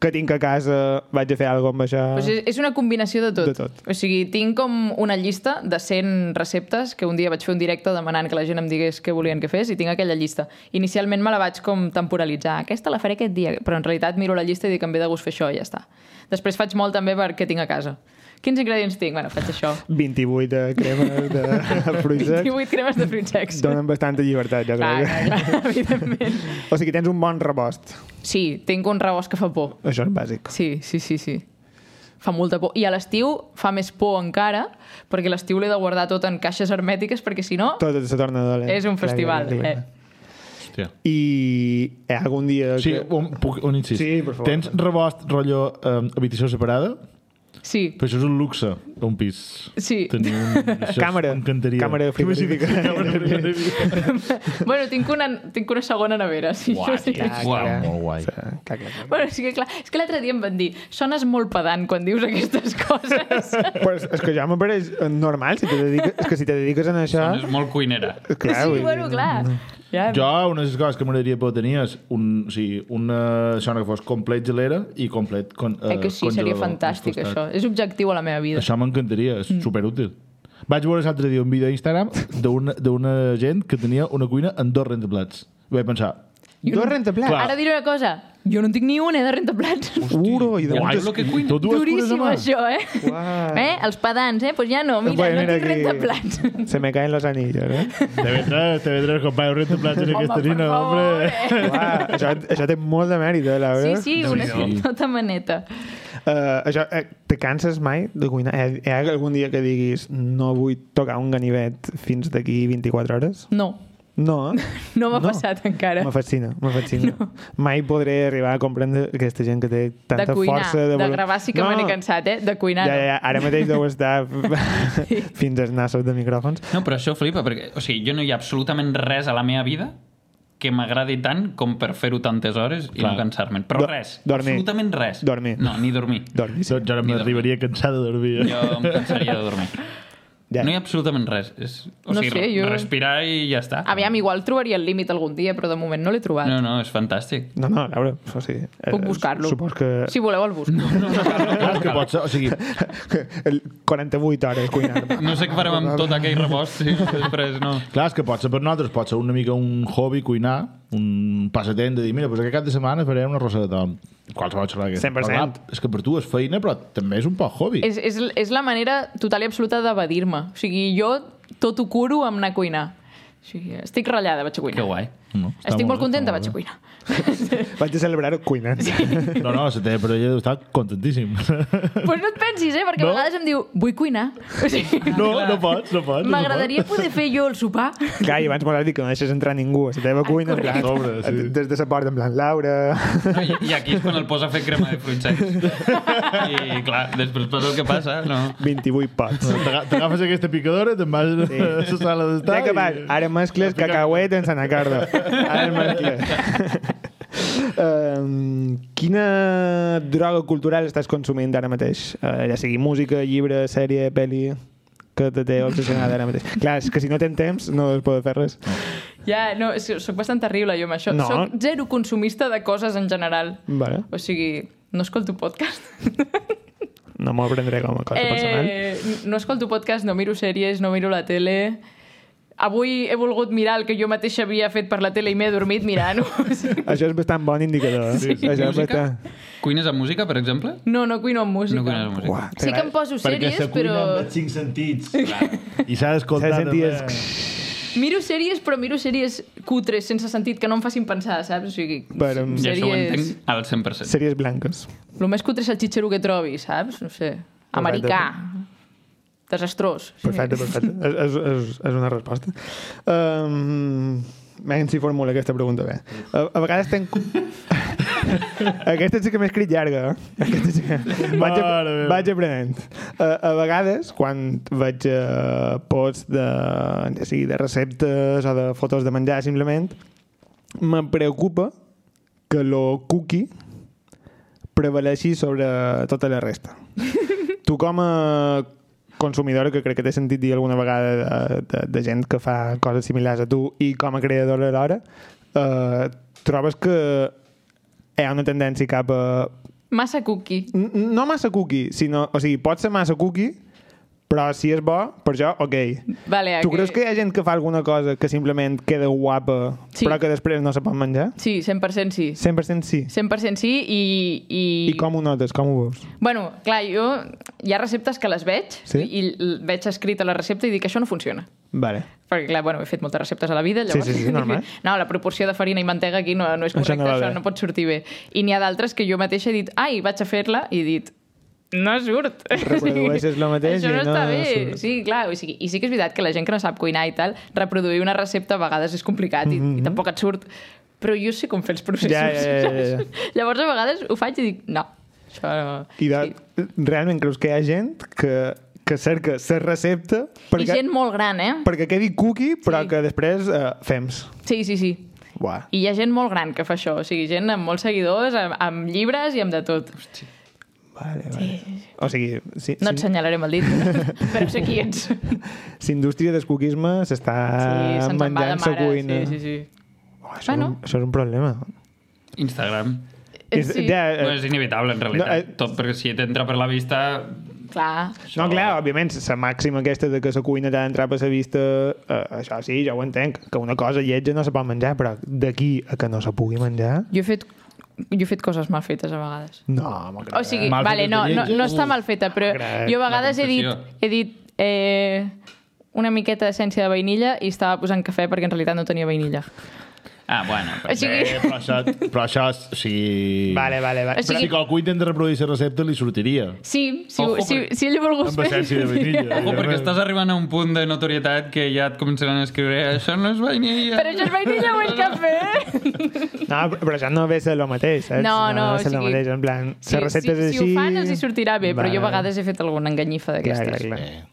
que tinc a casa, vaig a fer alguna amb això... Pues és, és una combinació de tot. De tot. O sigui, tinc com una llista de 100 receptes que un dia vaig fer un directe demanant que la gent em digués què volien que fes i tinc aquella llista. Inicialment me la vaig com temporalitzar. Aquesta la faré aquest dia, però en realitat miro la llista i dic em ve de gust fer això i ja està. Després faig molt també per què tinc a casa. Quins ingredients tinc? Bueno, faig això. 28 de cremes de fruits secs 28 cremes de fruits secs. donen bastanta llibertat, jo Clar, crec. clar, clar, evidentment. O sigui, tens un bon rebost. Sí, tinc un rebost que fa por. Això és bàsic. Sí, sí, sí, sí. Fa molta por. I a l'estiu fa més por encara, perquè a l'estiu l'he de guardar tot en caixes hermètiques, perquè si no, Tot se torna dolent. és un Clar, festival. clar, clar, eh? clar. Hòstia. I hi ha algun dia... Sí, que... un, puc, un incís. Sí, per favor. Tens rebost, rotllo, eh, habitació separada? Sí, Però això és un luxe, un pis. sí. Tenir un... Això Càmera. M'encantaria. Càmera frigorífica. Càmera frigorífica. bueno, tinc una, tinc una segona nevera. Sí, Uau, sí. tio. Uau, molt guai. Clar, clar, clar. Bueno, sí que clar, és que l'altre dia em van dir sones molt pedant quan dius aquestes coses. Però és, és que ja m'apareix normal, si te dediques, és que si te dediques en això... És molt cuinera. Clar, vull sí, dir, bueno, clar. Ja, Jo, una de les coses que m'agradaria poder tenir és un, o sigui, una zona que fos complet gelera i complet con, eh, eh, que sí, seria congelador, fantàstic, al costat. això. Mm. És objectiu a la meva vida. Això m'encantaria, és superútil. Vaig veure l'altre dia un vídeo a Instagram d'una- d'una gent que tenia una cuina amb dos rentaplats. I vaig pensar, Dos rentaplats. Ara diré una cosa, jo no tinc ni una de rentaplats. Uro i de Ja Guai. veus el que cuina. tot dues cuines a Duríssim, mà. això, eh? Uau. Eh? Els pedants, eh? Pues ja no, mira, Bueno, bueno, mira no tinc aquí. rentaplats. Se me caen los anillos, eh? TV3, TV3, company, rentaplats en Home, aquesta per nina, favor, hombre. eh? Uah, això, això té molt de mèrit, eh, Laura? Sí, sí, una Déu-n'hi-do. tota maneta. Uh, això, eh, te canses mai de cuinar? Hi ha, hi ha algun dia que diguis no vull tocar un ganivet fins d'aquí 24 hores? No, No, eh? no m'ha passat encara. Me fascina, me fascina. No. Mai podré arribar a comprendre aquesta gent que té De tanta cuinar, força... de, volun- gravar sí que me n'he cansat, eh? De cuinar. Ja, ja, no. ja, ara mateix deu estar fins als nassos de micròfons. No, però això flipa, perquè o sigui, jo no hi ha absolutament res a la meva vida que m'agradi tant com per fer-ho tantes hores i Clar. no cansar-me'n. Però Do- res, dormir. absolutament res. Dormir. No, ni dormir. Dormir, sí. Jo Doncs ara m'arribaria cansat de dormir. eh? Jo em cansaria de dormir. Ja. No hi ha absolutament res. És, o No sigui, sé, jo- respirar i ja està. Aviam, igual trobaria el límit algun dia, però de moment no l'he trobat. No, no, és fantàstic. No, no, a veure, o sigui... eh, Puc buscar-lo. Supos que... Si voleu el busco. Clar, és que pot ser, o sigui, que el 48 hores cuinar. No sé què farem amb tot aquell rebost si després no... clar, és que pot ser per nosaltres, pot ser una mica un hobby cuinar, un passatent de dir, mira, doncs aquest cap de setmana faré una rosa de tom. Qualsevol xerrada que... 100%. Però, clar, És que per tu és feina, però també és un poc hobby. És, és, és la manera total i absoluta d'evadir-me. O sigui, jo tot ho curo amb anar a cuinar. O sigui, estic ratllada, vaig a cuinar. Que guai. No, està Estic molt bé, contenta, està vaig a bé. cuinar. Vaig a celebrar cuinant. Sí. No, no, la teva parella deu estar contentíssim. Pues no et pensis, eh? Perquè No? a vegades em diu, vull cuinar. O sigui, No, no pots, no pots. M'agradaria poder fer jo el sopar. Clar, i abans m'ho has dit que no deixes entrar ningú a la teva cuina. en plan, correcte. Sobre, sí. Des de la porta, en plan, Laura... No, i, I aquí és quan el posa a fer crema de fruits secs. I clar, després passa el que passa, no? 28 pots. T'aga- T'agafes aquesta picadora, te'n vas a la sala d'estar... Ja que vas, i- ara mescles cacauet en Sanacardo. Ara mescles. Um, quina droga cultural estàs consumint ara mateix? Uh, ja sigui música, llibre, sèrie, pel·li que te té obsessionada ara mateix. Clar, és que si no tens temps no es pot fer res. Ja, no, és que sóc bastant terrible jo amb això. No. Soc zero consumista de coses en general. Vale. O sigui, no escolto podcast. No m'ho prendré com a cosa personal. Eh, no escolto podcast, no miro sèries, no miro la tele... Avui he volgut mirar el que jo mateixa havia fet per la tele i m'he dormit mirant-ho. O sigui, Això és bastant bon indicador. eh? Això és Música? bastant... Cuines amb música, per exemple? No, no cuino amb música. No cuines amb música. Uah, Sí que em poso Perquè sèries, se cuina però... amb els cinc sentits. I s'ha d'escoltar... S'ha de sentir també. Miro sèries, però miro sèries cutres, sense sentit, que no em facin pensar, saps? O sigui, Però, mm, Ja això ho sèries... entenc al 100%. sèries blanques. El més cutre és el xitxero que trobis, saps? No sé. Americà. Desastrós. Sí. Perfecte, perfecte. És, és, és, és una resposta. Um, Vinga, si formula aquesta pregunta bé. A, a vegades tenc... Aquesta sí que m'he escrit llarga. eh? Aquesta sí que... vaig, a, Mare meva. vaig aprenent. A, a vegades, quan vaig a posts de, ja sigui de receptes o de fotos de menjar, simplement, me preocupa que lo cookie prevaleixi sobre tota la resta. tu com a consumidora, que crec que t'he sentit dir alguna vegada de, de, de gent que fa coses similars a tu i com a creadora alhora, eh, trobes que Eh, hi ha una tendència cap a... Massa cookie. n- No massa cookie, sinó... O sigui, pot ser massa cookie, però si és bo, per jo, ok. Vale, eh, Tu creus que hi ha gent que fa alguna cosa que simplement queda guapa, Sí. però que després no se pot menjar? Sí, 100% sí. 100% sí. 100% sí i... I, I com ho notes? Com ho veus? Bueno, clar, jo... Hi ha receptes que les veig Sí? i l- veig escrita la recepta i dic això no funciona. Vale. Perquè, clar, bueno, he fet moltes receptes a la vida, Sí, llavors... sí, sí, normal. No, la proporció de farina i mantega aquí no, no és Això correcta, no això va no, bé. pot sortir bé. I n'hi ha d'altres que jo mateixa he dit, ai, vaig a fer-la, i he dit, no surt. Reprodueixes lo mateix Això i no, no està bé. surt. Sí, clar, o sigui, i sí que és veritat que la gent que no sap cuinar i tal, reproduir una recepta a vegades és complicat i, i tampoc et surt. Però jo sé com fer els processos. Mm-hmm. Ja, ja, ja, ja, ja. saps? Llavors, a vegades ho faig i dic, no, això no... I de, Sí. sí. realment creus que hi ha gent que, que cerca la recepta I perquè, gent molt gran, eh? perquè quedi cookie, però Sí. sí. que després uh, fems. Sí, sí, sí. Uah. I hi ha gent molt gran que fa això, o sigui, gent amb molts seguidors, amb, amb llibres i amb de tot. Vale, vale. Sí. O sigui, si, No si, et senyalarem el dit, però sé qui ets. Sí, si indústria del cookisme s'està se'ns en va de menjant la mare, Ah, cuina. Sí, sí, sí. Oh, això, Bueno. és un, això és un problema. Instagram. Eh, És- sí. Ja, eh, No, és inevitable, en realitat. no, eh, Tot perquè si t'entra per la vista... Clar. No, clar, òbviament, la màxima aquesta de que la cuina t'ha d'entrar per la vista, eh, això sí, ja ho entenc, que una cosa lletja no se pot menjar, però d'aquí a que no se pugui menjar... Jo he fet, jo he fet coses mal fetes a vegades. No, m'ho crec. O sigui, Mal vale, feta no, de no, lletges? no està mal feta, però Crac, jo a vegades he dit, confessió. he dit eh, una miqueta d'essència de vainilla i estava posant cafè perquè en realitat no tenia vainilla. Ah, bueno. O sigui, Eh, però això, però això és, o sigui... Vale, vale, vale. O sigui- Si qualcú intenta reproduir la recepta, li sortiria. sí, si, Ojo, si, perquè- si ell ho volgut Amb essència de vainilla. Ojo, perquè estàs arribant a un punt de notorietat que ja et començaran a escriure això no és vainilla. Però això és vainilla o el cafè? No, però això no ve a ser el mateix, saps? No, no, ve a ser o el sigui- mateix, en plan, les si, receptes si així... ho fan els hi sortirà bé, però jo a Vale. vegades he fet alguna enganyifa Clar, d'aquestes. clar, clar. Eh,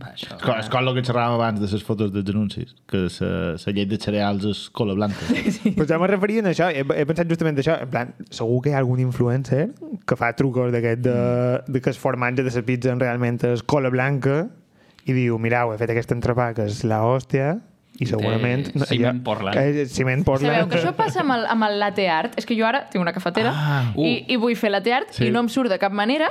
Va, això... És com, és com el que xerràvem abans de les fotos dels anuncis, que la llei de cereals és cola blanca. Però ja me referia a això, he, he pensat justament això, en plan, segur que hi ha algun influencer que fa trucos d'aquest de, de que el formatge de la pizza realment és cola blanca i diu, mirau, he fet aquest entrepà que és la hòstia i segurament... ciment jo- Portland. Eh, ciment Portland. Sabeu que això passa amb el, amb el latte art? És que jo ara tinc una cafetera Ah, uh. i, i vull fer latte art Sí. i no em surt de cap manera.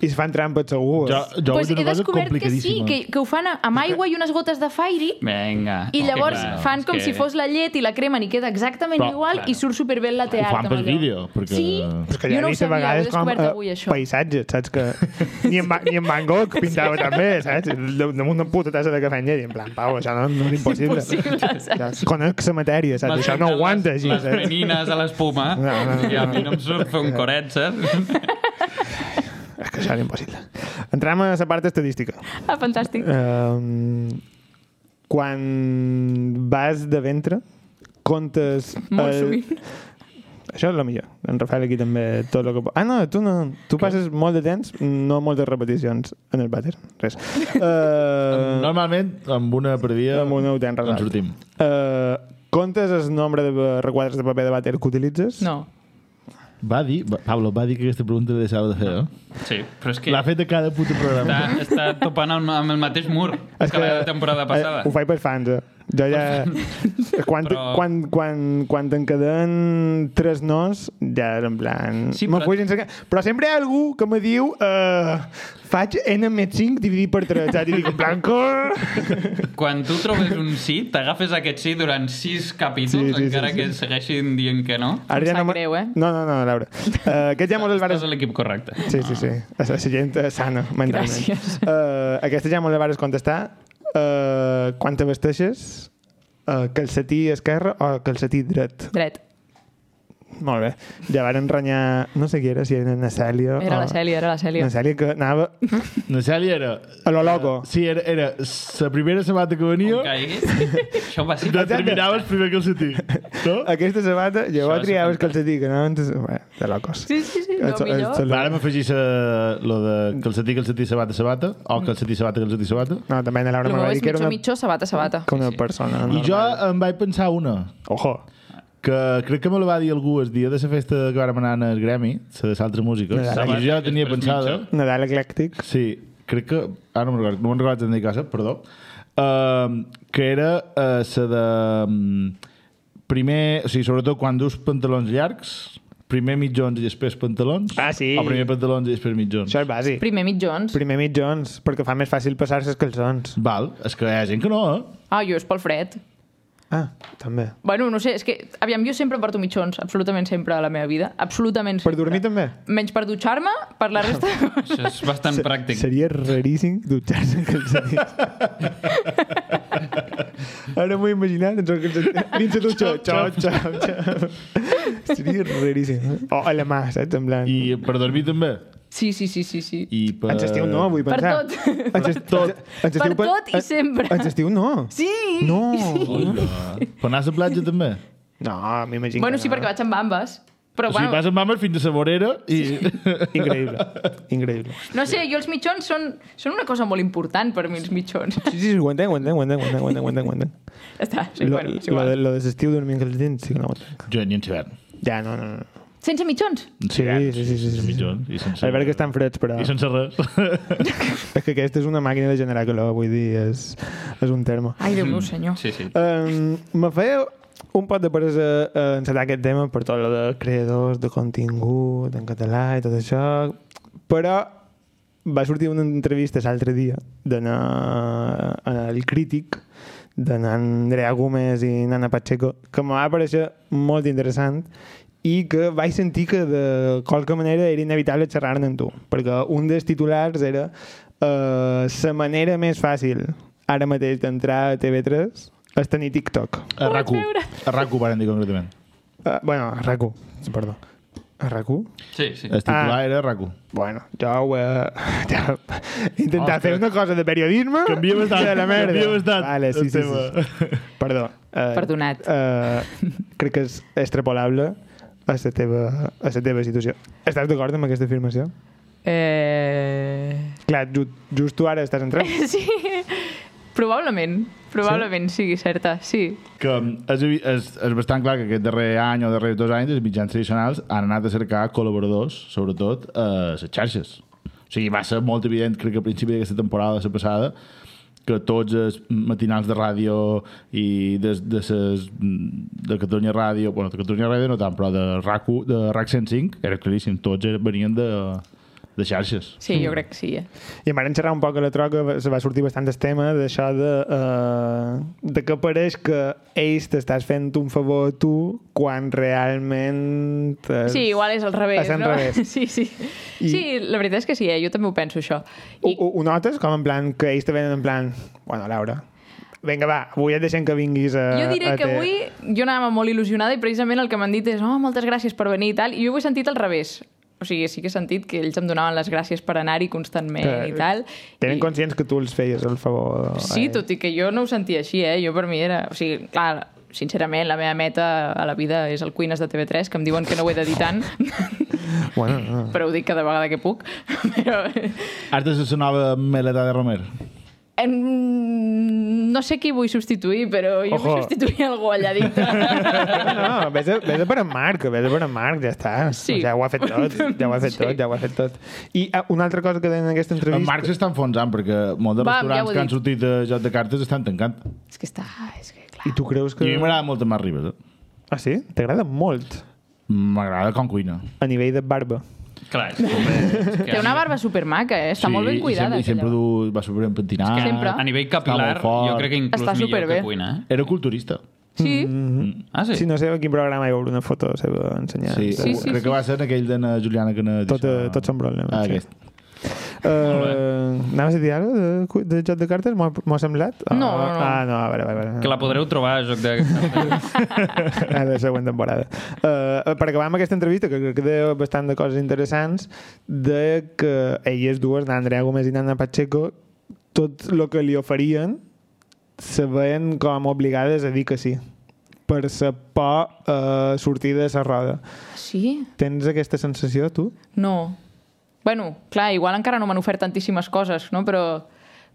I es fan trampes segur. Jo, jo pues veig he una cosa descobert que sí, complicadíssima. que, que ho fan a- amb aigua i unes gotes de fairy Vinga. i llavors Clar, fan és com que- si fos la llet i la cremen i queda exactament Però, igual i surt superbé el latte Ho art. fan pel amb allò. vídeo, perquè... Sí, Però és que jo ja he no ho vist a sabia, ho he vegades com descobert eh, avui, això. paisatges, saps que... Ni en, Va- ni en Van Gogh pintava també, saps? De- Damunt d'una puta tassa de cafè amb llet, i en plan, Pau, això no, no és impossible. Impossible, saps? Conec la matèria, saps? Això no ho aguanta així, Les saps? frenines a l'espuma, No, no, no. i a mi no em surt fer un coret, saps? És que això era impossible. Entrem a la part estadística. Ah, fantàstic. Um, quan vas de ventre, comptes... Molt el- sovint. Això és la millor. En Rafael aquí també tot el que... po- Ah, no, tu no. Tu passes molt de temps, no moltes repeticions en el vàter. Res. Uh, Normalment, amb una per dia, Amb una ho tens en resolt. sortim. uh, comptes el nombre de requadres de paper de vàter que utilitzes? No. Va dir, va- Pablo, va dir que aquesta pregunta la deixava de fer, eh? Sí, però és que... L'ha fet de cada puto Està, programa. està topant amb, amb el mateix mur que, que la temporada passada. Eh, ho faig per fans, eh? Jo ja... quan, Però- però... quan, quan, quan te'n queden tres nos, ja era en plan... Sí, me però- fuig sense cap. Però sempre hi ha algú que me diu uh, faig n més 5 dividit per 3, ja dic, en plan... "Cor!" Quan tu trobes un sí, t'agafes aquest sí durant sis capítols, Sí, sí, sí, encara sí. que segueixin dient que no. Ara Em sap me- greu, eh? No, no, no, Laura. Uh, aquest ja mos el vares... Estàs a l'equip correcte. Sí, sí, sí. És la gent eh, sana, mentalment. Gràcies. Uh, aquesta ja me la vares contestar. Uh, quan te vesteixes? Uh, calcetí esquerre o calcetí dret? Dret. Molt bé. Ja van renyar... No sé qui era, si era na Cèlia... Era o... la Cèlia, era la Cèlia. Na Cèlia que anava La Cèlia era... a lo loco. Sí, era, era la primera sabata que Com venia, caigui, això va ser... la terminaves primer que el sentit. No? Aquesta sabata, jo Això va és triar el fantàstic. calcetí, que anaven... Bé, de locos. Sí, sí, sí, no, Això- millor. això- Ara m'afegir eh, lo de calcetí, calcetí, sabata, sabata, o calcetí, sabata, calcetí, sabata. No, també na Laura El me meu va és dir que era mitjó, una, mitjó, sabata, sabata. que una persona I normal. jo em vaig pensar una, Ojo. que crec que me la va dir algú el dia de la festa que vam anar al Grammy, la de l'altra música, Sabata, i jo ja tenia després pensada... mitja. Nadal eclèctic. Sí, crec que... Ah, no me'n recordo, no me'n recordo tant de casa, perdó. Uh, que era uh, la de... mm, Primer, o sigui, sobretot quan dus pantalons llargs, primer mitjons i després pantalons. Ah, sí. O primer pantalons i després mitjons. Això és bàsic. Primer mitjons. Primer mitjons, perquè fa més fàcil passar-se els calçons. Val, és que hi ha gent que no, eh? Ah, jo és pel fred. Ah, també. Bueno, no sé, és que, aviam, jo sempre porto mitjons, absolutament sempre a la meva vida, absolutament Per sempre. dormir també? Menys per dutxar-me, per la resta... de coses. Això és Este, bastant pràctic. Seria raríssim dutxar-se en calcetins. Ara m'ho he imaginat, ens ho calcetins. Dins de dutxa, xau, xau, xau. Seria raríssim. eh? O a la mà, saps? En plan... I per dormir també. Sí, sí, sí, sí, sí. I per... Ens estiu no, vull Per pensar. tot. Ens est- tot. ens estiu Per tot i en- sempre. Ens estiu no. Sí! No. Hola. Per anar a la platja també. No, m'imagino Bueno, que sí, no. perquè vaig amb bambes. O Però, sigui, bueno, vas amb mames fins a la vorera i... Increïble. Increïble. no sé, jo els mitjons són, són una cosa molt important per mi, els mitjons. Sí, sí, sí, ho entenc, ho entenc, ho entenc, ho entenc, ho entenc, ho entenc, ho entenc. Ja Està, sí, Lo, bueno, és lo, de, igual. lo de l'estiu dormir en calcetins, sí que no ho entenc. Jo ni en hivern. Ja, no, no, no. Sense mitjons? Sí, sí, sí, sí, sí. Sense mitjons. I sense... A veure que estan freds, però... I sense res. És que aquesta és una màquina de generar calor, vull dir, és, és un terme. Ai, Déu meu senyor. Sí, sí. Um, me feia un pot de paresa a encetar aquest tema per tot el de creadors, de contingut, en català i tot això, però va sortir una entrevista l'altre dia d'anar al crític d'anar Andrea Gómez i Nana Pacheco, que em va aparèixer molt interessant i que vaig sentir que de qualque manera era inevitable xerrar-ne amb tu, perquè un dels titulars era eh, la manera més fàcil ara mateix d'entrar a TV3 és tenir TikTok. A RAC1. A RAC1 van dir concretament. Uh, bueno, a RAC1, perdó. A RAC1? Sí, sí. El Ah. titular era RAC1. Bueno, jo ho he... Ja, he intentat Ostres. fer una cosa de periodisme... Canvia bastant, De la merda. canvia bastant Vale, sí, el sí, tema. sí, sí. Perdó. Eh, Perdonat. Eh, crec que és extrapolable a la teva, a la teva situació. Estàs d'acord amb aquesta afirmació? Eh... clar, just, just tu ara estàs entrant. Sí, probablement, probablement sí? sigui certa, sí. que és, evi- és, és bastant clar que aquest darrer any o darrers dos anys els mitjans tradicionals han anat a cercar col·laboradors, sobretot, a les xarxes. O sigui, va ser molt evident, crec que a principi d'aquesta temporada, la passada, que tots els matinals de ràdio i de, de, ses, de Catalunya Ràdio, bueno, de Catalunya Ràdio no tant, però de RAC, de RAC 105, era claríssim, tots er- venien de, de xarxes. Sí, jo crec que sí. Eh? I em van xerrar un poc a la troca, va- se va sortir bastant el tema d'això de, uh, de que pareix que ells t'estàs fent un favor a tu quan realment... eh, Sí, igual és al revés, És al no? revés. Sí, sí. I- Uh, I... Sí, la veritat és que sí, eh? jo també ho penso, això. Ho, ho, ho notes com en plan que ells te venen en plan... Bueno, Laura, vinga, va, avui et deixem que vinguis a... Jo diré a que te- avui jo anava molt il·lusionada i precisament el que m'han dit és oh, moltes gràcies per venir i tal, i jo ho he sentit al revés. O sigui, sí que he sentit que ells em donaven les gràcies per anar-hi constantment Que i tal. Tenen eh? I- conscients que tu els feies el favor. a Sí, ells. tot i que jo no ho sentia així, eh? Jo per mi era... O sigui, clar, sincerament, la meva meta a la vida és el Cuines de TV3, que em diuen que no ho he de dir tant, Bueno, no. però ho dic cada vegada que puc. Però... Has de ser la nova Meleta de Romer. Em... No sé qui vull substituir, però jo Ojo. vull substituir algú allà dintre. no, vés a, vés a per en Marc, vés a per en Marc, ja està. Sí. Ja ho ha fet tot, ja ho ha fet Sí. tot, ja ho ha fet tot. I ah, una altra cosa que deien en aquesta En entrevista... Marc s'està enfonsant perquè molts de Va, ja ho restaurants que han dic. sortit de joc de cartes estan tancant. és que està... És que, clar. I tu creus que... I a mi m'agrada molt el Marc Ribas, eh? Ah, sí? T'agrada molt M'agrada com cuina. a nivell de barba. Clar, és que, és que Té una barba supermaca, eh? Està molt ben cuidada. I sempre, i sempre aquella. du, va super ben pentinat. sempre. a nivell capilar Està molt fort. jo crec que inclús Està millor superbé. que cuina. Eh? Era culturista. Sí, Mm. Mm-hmm. Ah, sí? Sí. Si no sé a quin programa hi veure una foto seva ensenyant. Sí, Sí, sí, crec sí. que va ser en aquell de na Juliana que na... Tot, eh, tots són problemes, Ah, sí. aquest. Uh, anaves a dir alguna cosa de, cu- de joc de cartes? M'ho ha- m'ho ha semblat? No, no, Ah, no. Ah, no, a veure, a veure. Que la podreu trobar a Joc de... a la Ah, següent temporada. Uh, per acabar amb aquesta entrevista, que crec que deia bastant de coses interessants, de que elles dues, na Andrea Gómez i Nana Pacheco, tot el que li oferien se veien com obligades a dir que sí per sa por uh, sortir de sa roda. Ah, sí. Tens aquesta sensació, tu? No. Bueno, clar, igual encara no m'han ofert tantíssimes coses, no? Però,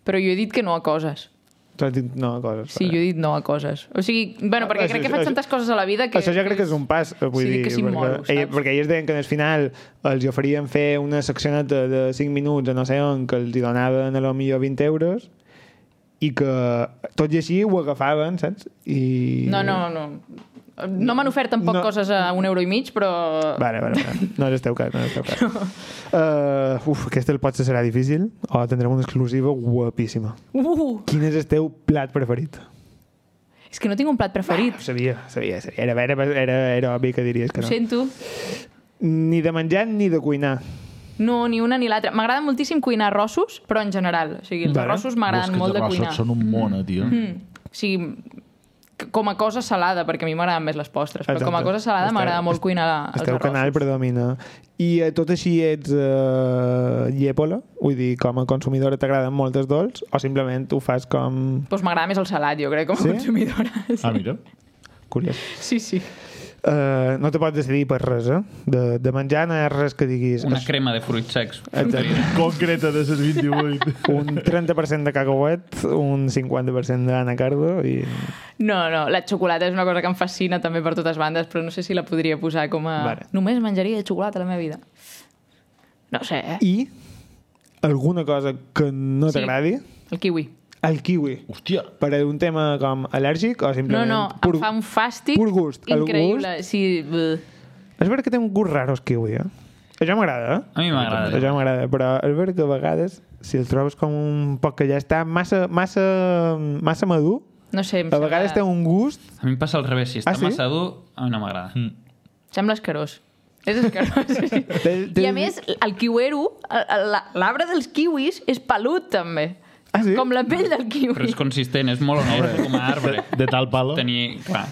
però jo he dit que no a coses. Tu has dit no a coses. Sí, jo he dit no a coses. O sigui, bueno, perquè Això- crec que Ah, això- faig tantes coses a la vida que... Això ja crec que és un pas, eh, vull Sí, dir, que sí, perquè, moro, saps? ell, perquè ells deien que en el final els hi oferien fer una seccioneta de 5 minuts a no sé on, que els hi donaven a lo millor 20 euros, i que tot i així ho agafaven, saps? I... No, no, no. No m'han ofert tampoc No. no. coses a un euro i mig, però... Vale, vale, vale. No és el teu cas, no és el teu cas. Uh, uf, aquesta el potser serà difícil, o tindrem una exclusiva guapíssima. Uh, Quin és el teu plat preferit? és que no tinc un plat preferit. Ho sabia, ho sabia, ho sabia. Era, era, era, era obvi que diries que no. Ho sento. Ni de menjar ni de cuinar. No, ni una ni l'altra. M'agrada moltíssim cuinar arrossos, però en general. O sigui, els Vale. vale. arrossos Bosques m'agraden molt de rossos cuinar. Mm-hmm. Són un món, eh, tio. Mm. O sigui, c- com a cosa salada, perquè a mi m'agraden més les postres, però com a Exacte. cosa salada Esteu- m'agrada molt cuinar la- els Esteu arrossos. canal predomina. I eh, tot així ets eh, llepola? Vull dir, com a consumidora t'agraden molt els dolç o simplement ho fas com... Doncs m'agrada més el salat, jo crec, com a Sí? sí? consumidora. Ah, mira. Curiós. Sí, sí. Uh, no te pots decidir per res, eh? De, de menjar no hi ha res que diguis... Una "Es- crema de fruits secs. Eh, Exacte. Concreta de ses 28. un 30% de cacauet, un 50% d'anacardo i... No, no, la xocolata és una cosa que em fascina també per totes bandes, però no sé si la podria posar com a... Vale. Només menjaria xocolata a la meva vida. No ho sé, eh? I alguna cosa que no Sí. t'agradi, El kiwi. el kiwi. Hòstia. Per un tema com al·lèrgic o No, simplement... no, em fa un fàstic pur gust. El increïble. Sí, bleh. És veritat que té un gust raro el kiwi, eh? Això m'agrada, eh? A mi m'agrada. Això m'agrada, però és veritat que a vegades si el trobes com un poc que ja està massa, massa, massa madur, no sé, em a vegades té sembla... un gust... A mi em passa al revés. Si està Ah, sí? massa dur, a mi no m'agrada. Sembla escarós. És escarós. sí, sí. Té- té- I a més, el kiwero, el- la- l'arbre dels kiwis, és pelut, també. Ah, sí? Com la pell del kiwi. Però és consistent, és molt honest com a De, arbre. de tal palo. Tenir, clar,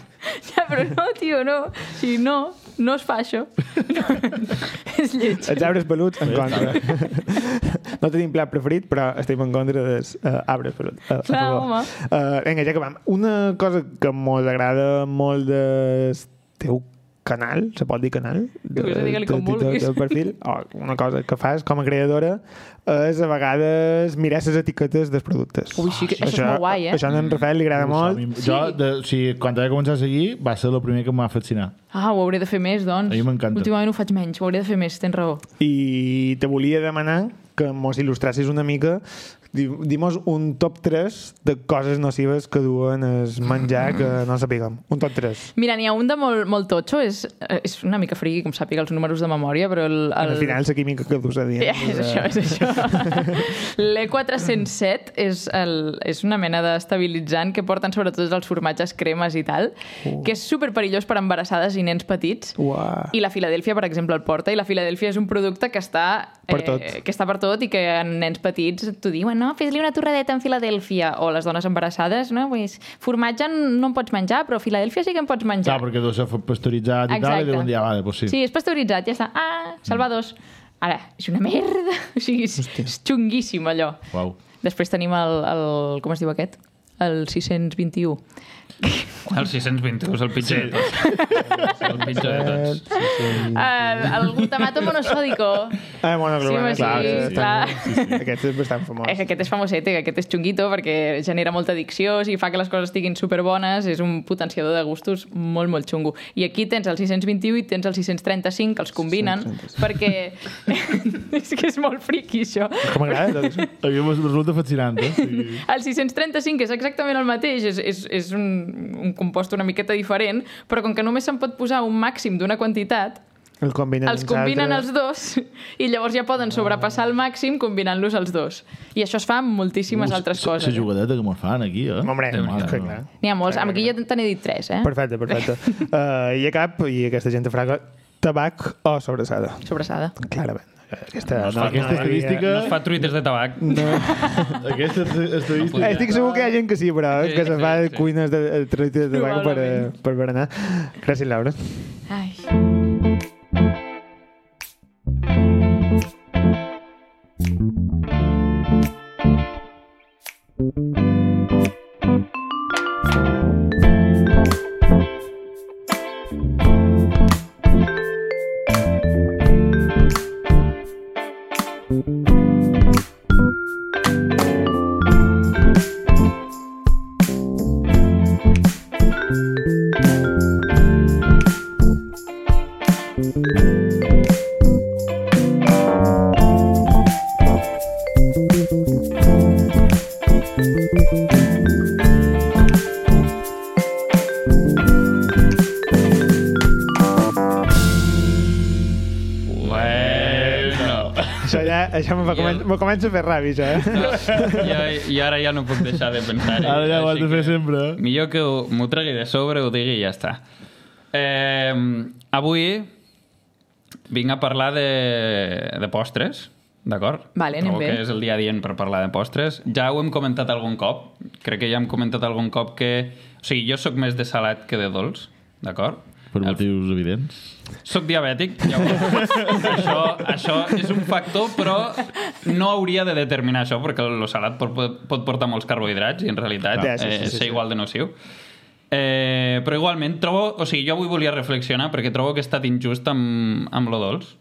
Ja, però no, tio, no. Si no, no es fa això. és lleig. Els arbres peluts en contra. no tenim plat preferit, però estem en contra dels uh, arbres peluts. Uh, Clar, home. Eh, Uh, vinga, ja acabam. Una cosa que molt agrada molt del teu canal, se pot dir canal? De, Cosa, digue-li com vulguis. del perfil, o una cosa que fas com a creadora és a vegades mirar les etiquetes dels productes. Ah, Ui, sí, que- això és molt guai, eh? Això a en Rafael li agrada A molt. mi- Jo, de, o sigui, quan vaig començar a seguir, va ser el primer que m'ha fascinat. Ah, ho hauré de fer més, A doncs. mi m'encanta. Últimament ho faig menys, ho hauré de fer més, tens raó. i te volia demanar que mos il·lustrassis una mica di- dimos un top 3 de coses nocives que duen es menjar que Mm. no sapiguem. Un top 3. Mira, n'hi ha un de molt, molt totxo, és, és una mica friki, com sàpiga els números de memòria, però... El, el... Al final, la química que dus a dia. Ja, és això, és això. L'E407 és, el, és una mena d'estabilitzant que porten sobretot els formatges cremes i tal, que és super perillós per embarassades i nens petits. Uh. Uah. I la Filadèlfia, per exemple, el porta. I la Filadèlfia és un producte que està... eh, Per tot. que està per tot i que a nens petits t'ho diuen, no, fes-li una torradeta en Filadèlfia. O les dones embarassades, no? Pues, formatge no en pots menjar, però Filadèlfia sí que en pots menjar. Clar, perquè deu ser pasteuritzat i tal, i deuen dir, ah, vale, doncs sí. Sí, és pasteuritzat, ja està. Ah, salvadors. Ara, és una merda. O sigui, és, és xunguíssim, allò. Uau. Després tenim el, el... Com es diu aquest? El 621. El 621 és el pitjor de tots. El pitjor de tots. El, Ah, el glutamato monosòdico. Ah, bueno, Sí, home, sí, clar, clar. Aquest és bastant famós. Eh, Aquest és famosete, aquest és xunguito perquè genera molta addicció, o sigui, fa que les coses estiguin superbones, és un potenciador de gustos molt, molt xungo. I aquí tens el 621 i tens el 635, que els combinen, perquè... és que és molt friqui, això. Com m'agrada tot això. doncs. A mi em resulta fascinant, eh? Sí. El 635 és exactament el mateix, és, és, és un, un compost una miqueta diferent, però com que només se'n pot posar un màxim d'una quantitat, El combinen els combinen els dos i llavors ja poden sobrepassar el màxim combinant-los els dos. I això es fa amb moltíssimes altres La coses. jugadeta que me'n fan aquí, eh? Hombre, Déu n'hi do. és que clar. N'hi ha molts. Amb aquí ja te n'he dit tres, eh? Perfecte, perfecte. Uh, I a cap, i aquesta gent te farà tabac o sobrassada. Sobrassada. Clarament. Aquesta, No, aquesta estadística... No es fa truites de tabac. Aquesta estadística... Eh, estic segur que hi ha gent que sí, però Sí, que se fa sí, sí. cuines de, de truita de tabac per, eh, Probablement. per berenar. Gràcies, Laura. Ai. Bueno. Això ja això me, fa I el- comen me comença a fer ràbia, això, eh? Ja, I ara ja no puc deixar de pensar. Ara ja ho has de fer sempre. Millor que ho- m'ho tregui de sobre, ho digui i ja està. Eh, avui vinc a parlar de, de postres, d'acord? Vale, anem Trobo bé. que és el dia dient per parlar de postres. Ja ho hem comentat algun cop. Crec que ja hem comentat algun cop que... O sigui, jo sóc més de salat que de dolç, d'acord? Per Al motius evidents. Soc diabètic, llavors això, això és un factor, però no hauria de determinar això, perquè el salat pot, pot portar molts carbohidrats i en realitat Ja, ja, sí, sí, sí, eh, sí, ser sí. igual de nociu. Eh, però igualment, trobo, o sigui, jo avui volia reflexionar perquè trobo que he estat injust amb, amb lo dolç.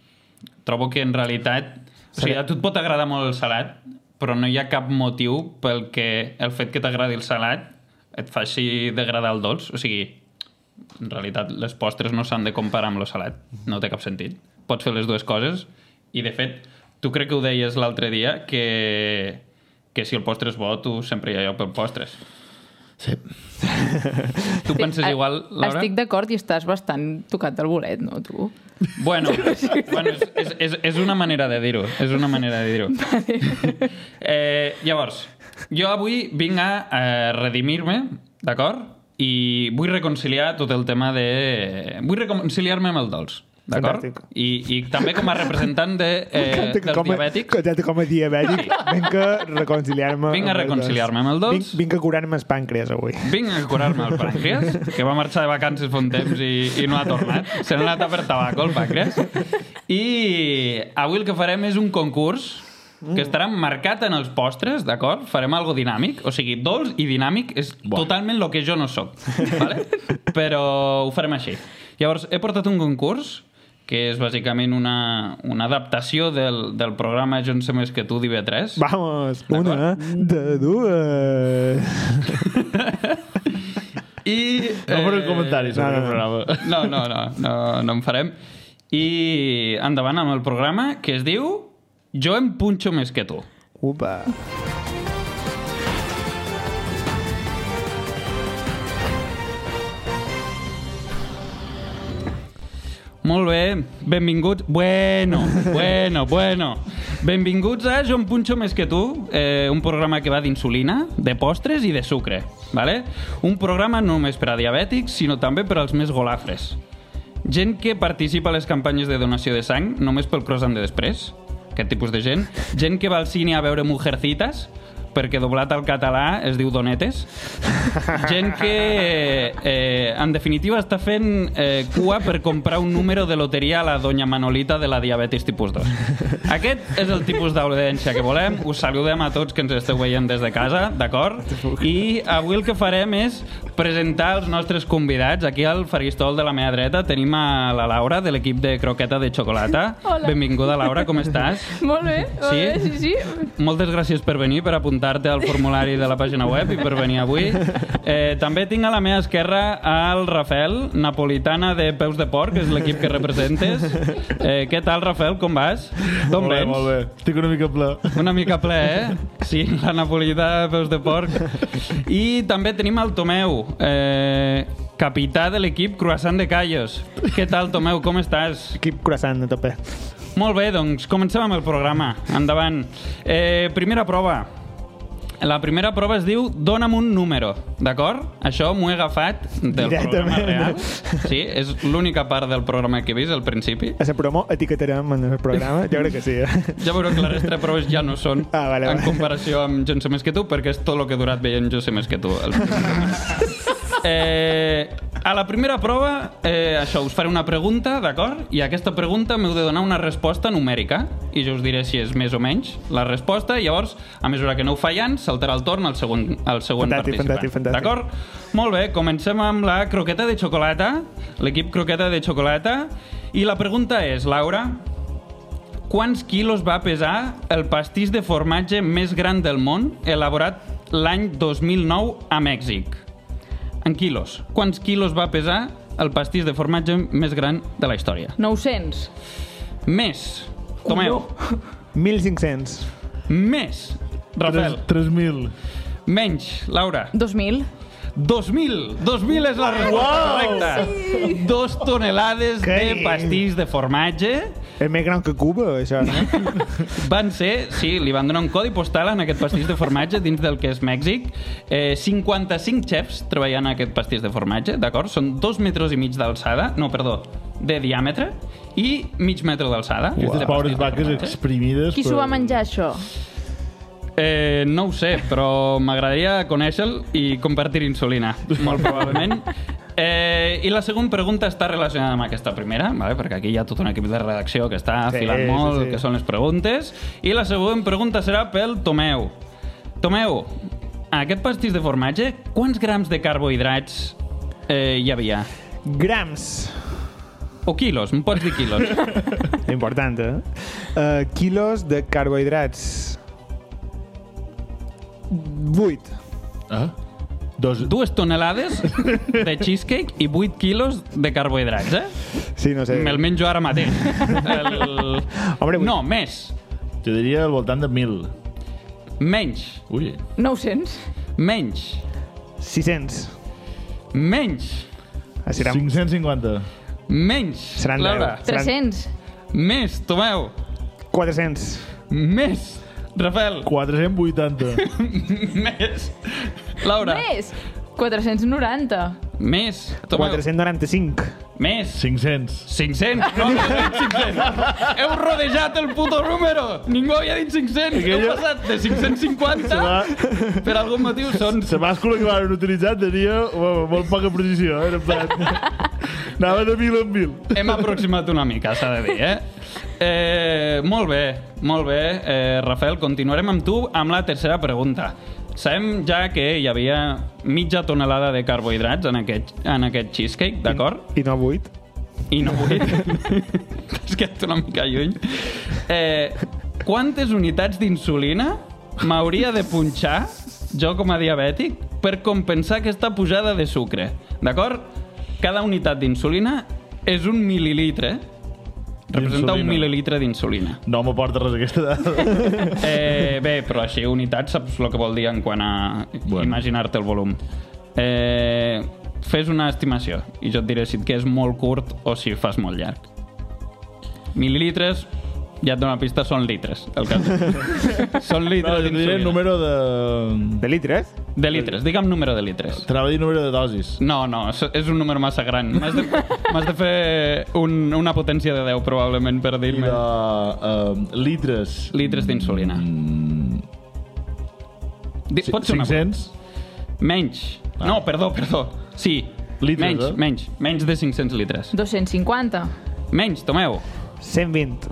Trobo que en realitat... O sigui, a tu et pot agradar molt el salat, però no hi ha cap motiu pel que el fet que t'agradi el salat et faci degradar el dolç. O sigui, en realitat les postres no s'han de comparar amb lo salat, no té cap sentit. Pots fer les dues coses i, de fet, tu crec que ho deies l'altre dia, que, que si el postre és bo, tu sempre hi ha lloc per postres. Sí. Tu penses Eh, igual, Laura? Estic d'acord i estàs bastant tocat del bolet, no, tu? Bueno, bueno és, és, és, és una manera de dir-ho. És una manera de dir-ho. Eh, llavors, jo avui vinc a eh, redimir-me, d'acord? I vull reconciliar tot el tema de... Vull reconciliar-me amb el dolç. D'acord? Fantàstic. I, I també com a representant de, eh, Que- que dels com a, diabètics. Que, ja com a diabètic, vinc a reconciliar-me. Vinc amb a el reconciliar-me dolç. amb el dolç. Vinc, vinc a curar-me el pàncreas, avui. Vinc a curar-me el pàncreas, que va marxar de vacances fa un temps i, i no ha tornat. Se n'ha anat a per tabaco, el pàncreas. I avui el que farem és un concurs Mm. que estarà marcat en els postres, d'acord? Farem algo dinàmic, o sigui, dolç i dinàmic és Buah. totalment el que jo no sóc, vale? però ho farem així. Llavors, he portat un concurs que és bàsicament una, una adaptació del, del programa Jo en sé més que tu d'IV3. Vamos, una de dues. I, eh, No farem comentaris sobre no, no. el programa. No, no, no, no, no en farem. I endavant amb el programa, que es diu Jo em punxo més que tu. Upa. Molt bé, benvinguts... Bueno, bueno, bueno. Benvinguts a Jo em punxo més que tu, eh, un programa que va d'insulina, de postres i de sucre, vale? Un programa no només per a diabètics, sinó també per als més golafres. Gent que participa a les campanyes de donació de sang només pel croissant de després, aquest tipus de gent. Gent que va al cine a veure Mujercitas, perquè doblat al català es diu Donetes. Gent que, eh, eh, en definitiva, està fent eh, cua per comprar un número de loteria a la doña Manolita de la diabetes tipus 2. Aquest és el tipus d'audiència que volem. Us saludem a tots que ens esteu veient des de casa, d'acord? I avui el que farem és presentar els nostres convidats. Aquí al faristol de la meva dreta tenim a la Laura, de l'equip de croqueta de xocolata. Hola. Benvinguda, Laura, com estàs? Molt bé, molt Sí? bé, sí, sí. Moltes gràcies per venir, per apuntar-te al formulari de la pàgina web i per venir avui. Eh, també tinc a la meva esquerra el Rafel, napolitana de Peus de Porc, és l'equip que representes. Eh, què tal, Rafel? Com vas? D'on Molt bé, vens? molt bé. Estic una mica ple. Una mica ple, eh? Sí, la napolità de peus de porc. I també tenim el Tomeu, eh, capità de l'equip Croissant de Callos. Què tal, Tomeu? Com estàs? Equip croissant a tope. Molt bé, doncs comencem amb el programa. Endavant. Eh, primera prova. La primera prova es diu Dóna'm un número, d'acord? Això m'ho he agafat del programa Directament. real. Sí, és l'única part del programa que he vist al principi. A la promo etiquetarem en el programa? Jo crec que sí. eh? Ja veureu que la resta de proves ja no són Ah, vale, en vale. comparació amb Jo en sé més que tu, perquè és tot el que he durat veient Jo sé més que tu. El eh, a la primera prova, eh, això, us faré una pregunta, d'acord? I a aquesta pregunta m'heu de donar una resposta numèrica, i jo us diré si és més o menys la resposta, i llavors, a mesura que no ho fallant, saltarà el torn al següent, al següent Fantàstic, fantàstic, participant. fantàstic. D'acord? Molt bé, comencem amb la croqueta de xocolata, l'equip croqueta de xocolata, i la pregunta és, Laura, Quants quilos va pesar el pastís de formatge més gran del món elaborat l'any 2009 a Mèxic? En quilos. Quants quilos va pesar el pastís de formatge més gran de la història? 900. Més. Tomeu. 1.500. Més. Rafael. 3.000. Menys. Laura. 2.000. 2.000. 2.000 és la resposta correcta. Dos tonelades de Sí. pastís de formatge És més gran que Cuba, això, no? Van ser, sí, li van donar un codi postal en aquest pastís de formatge dins del que és Mèxic. Eh, 55 xefs treballant en aquest pastís de formatge, d'acord? Són dos metres i mig d'alçada, no, perdó, de diàmetre i mig metre d'alçada. Aquestes de pobres pastís de vaques formatge. exprimides. Qui s'ho va menjar, això? Eh, no ho sé, però m'agradaria conèixer-lo i compartir insulina, molt probablement. Eh, I la següent pregunta està relacionada amb aquesta primera, vale? perquè aquí hi ha tot un equip de redacció que està Sí, afilant sí, molt sí. el que són les preguntes. I la següent pregunta serà pel Tomeu. Tomeu, en aquest pastís de formatge, quants grams de carbohidrats eh, hi havia? Grams. O quilos, em pots dir quilos. Important, eh? Uh, quilos de carbohidrats. 8. Eh? Dos... Dues tonelades de cheesecake i 8 quilos de carbohidrats, eh? Sí, no sé. Me'l menjo ara mateix. El... Hombre, vull- no, més. Jo diria al voltant de 1.000. Menys. Ui. 900. Menys. 600. Menys. Ah, Serà... 550. Menys. Seran Laura. deu. 300. Més, Tomeu. 400. Més. Rafael. 480. Més. Laura. Més. 490. Més. Tomeu. 495. Més. 500. 500. No, no, no, 500. Heu rodejat el puto número. Ningú havia dit 500. Heu Aquella- passat de 550 va- per algun motiu són La bàscula que van utilitzar tenia bueno, molt poca precisió. Eh? Era en plan... Anava de 1.000 en 1.000. Hem aproximat una mica, s'ha de dir, eh? eh? Molt bé, molt bé. Eh, Rafael, continuarem amb tu amb la tercera pregunta. Sabem ja que hi havia mitja tonelada de carbohidrats en aquest, en aquest cheesecake, d'acord? I no 8. i no vull. T'has quedat una mica lluny. Eh, quantes unitats d'insulina m'hauria de punxar jo com a diabètic per compensar aquesta pujada de sucre? D'acord? Cada unitat d'insulina és un mil·lilitre. Representa un D'insulina. mil·lilitre d'insulina. No m'aporta res aquesta dada. Eh, bé, però així unitats saps el que vol dir en quant a Bueno. bueno. imaginar-te el volum. Eh, fes una estimació i jo et diré si et quedes molt curt o si fas molt llarg. Mil·lilitres, ja et dono la pista, són litres. El cas. són No, jo litres et diré d'insulina. número de... De litres? De eh? litres, digue'm número de litres. T'anava a dir número de dosis. No, no, és- és un número massa gran. M'has de, m'has de fer un, una potència de 10, probablement, per I de dir-me. eh, litres... Litres d'insulina. Mm, Di- ci- Pot ser una 500? Menys. No, perdó, perdó. Sí, Ah. Litres, menys, eh? menys. Menys de 500 litres. 250. Menys, Tomeu. 120.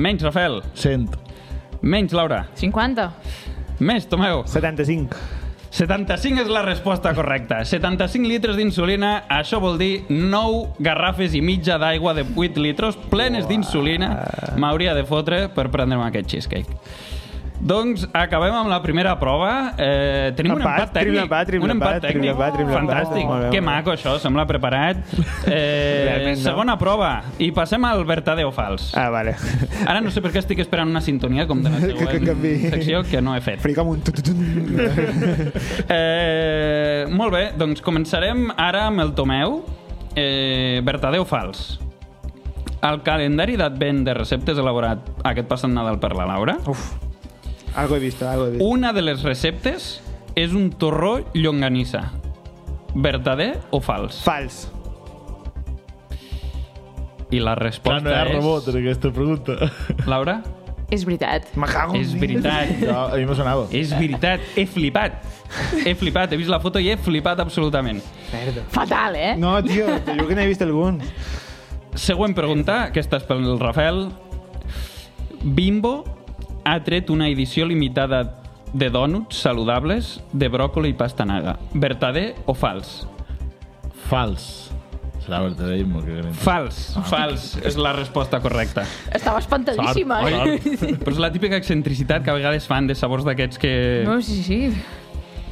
Menys, Rafael. 100. Menys, Laura. 50. Més, Tomeu. 75. 75 és la resposta correcta. 75 litres d'insulina, això vol dir 9 garrafes i mitja d'aigua de 8 litros plenes d'insulina m'hauria de fotre per prendre'm aquest cheesecake. Doncs acabem amb la primera prova. Eh, tenim un Empat, empat tècnic. triple empat, triple un empat empat, tècnic. triple empat, triple empat. Fantàstic. Molt bé, que molt bé. maco això, sembla preparat. Eh, Realment no. segona prova. I passem al verdadeu o fals. Ah, vale. Ara no sé per què estic esperant una sintonia com de la Que- que canviï. següent secció que no he fet. Faria com un... tututun. Eh, molt bé, doncs començarem ara amb el Tomeu. Eh, verdader o fals? El calendari d'advent de receptes elaborat aquest passat Nadal per la Laura, Uf. Algo he visto, algo he visto. una de les receptes és un torró llonganissa. Verdader o fals? Fals. I la Clar, resposta no hi ha és... rebot en aquesta pregunta. Laura? És veritat. Me Oh, cago en És Déu. veritat. Jo, a mi me sonava. És veritat, he flipat. He flipat, he vist la foto i he flipat absolutament. Merda. Fatal, eh? No, tio, te juro que n'he vist Ah. algun. Següent pregunta, aquesta és pel Rafael. Bimbo ha tret una edició limitada de dònuts saludables de bròcoli i pastanaga. Verdader o fals? Fals. Serà verdaderismo, que gran. Fals, fals, és la resposta correcta. Estava espantadíssima. Sort, eh? Però és la típica excentricitat que a vegades fan de sabors d'aquests que... No, sí, sí.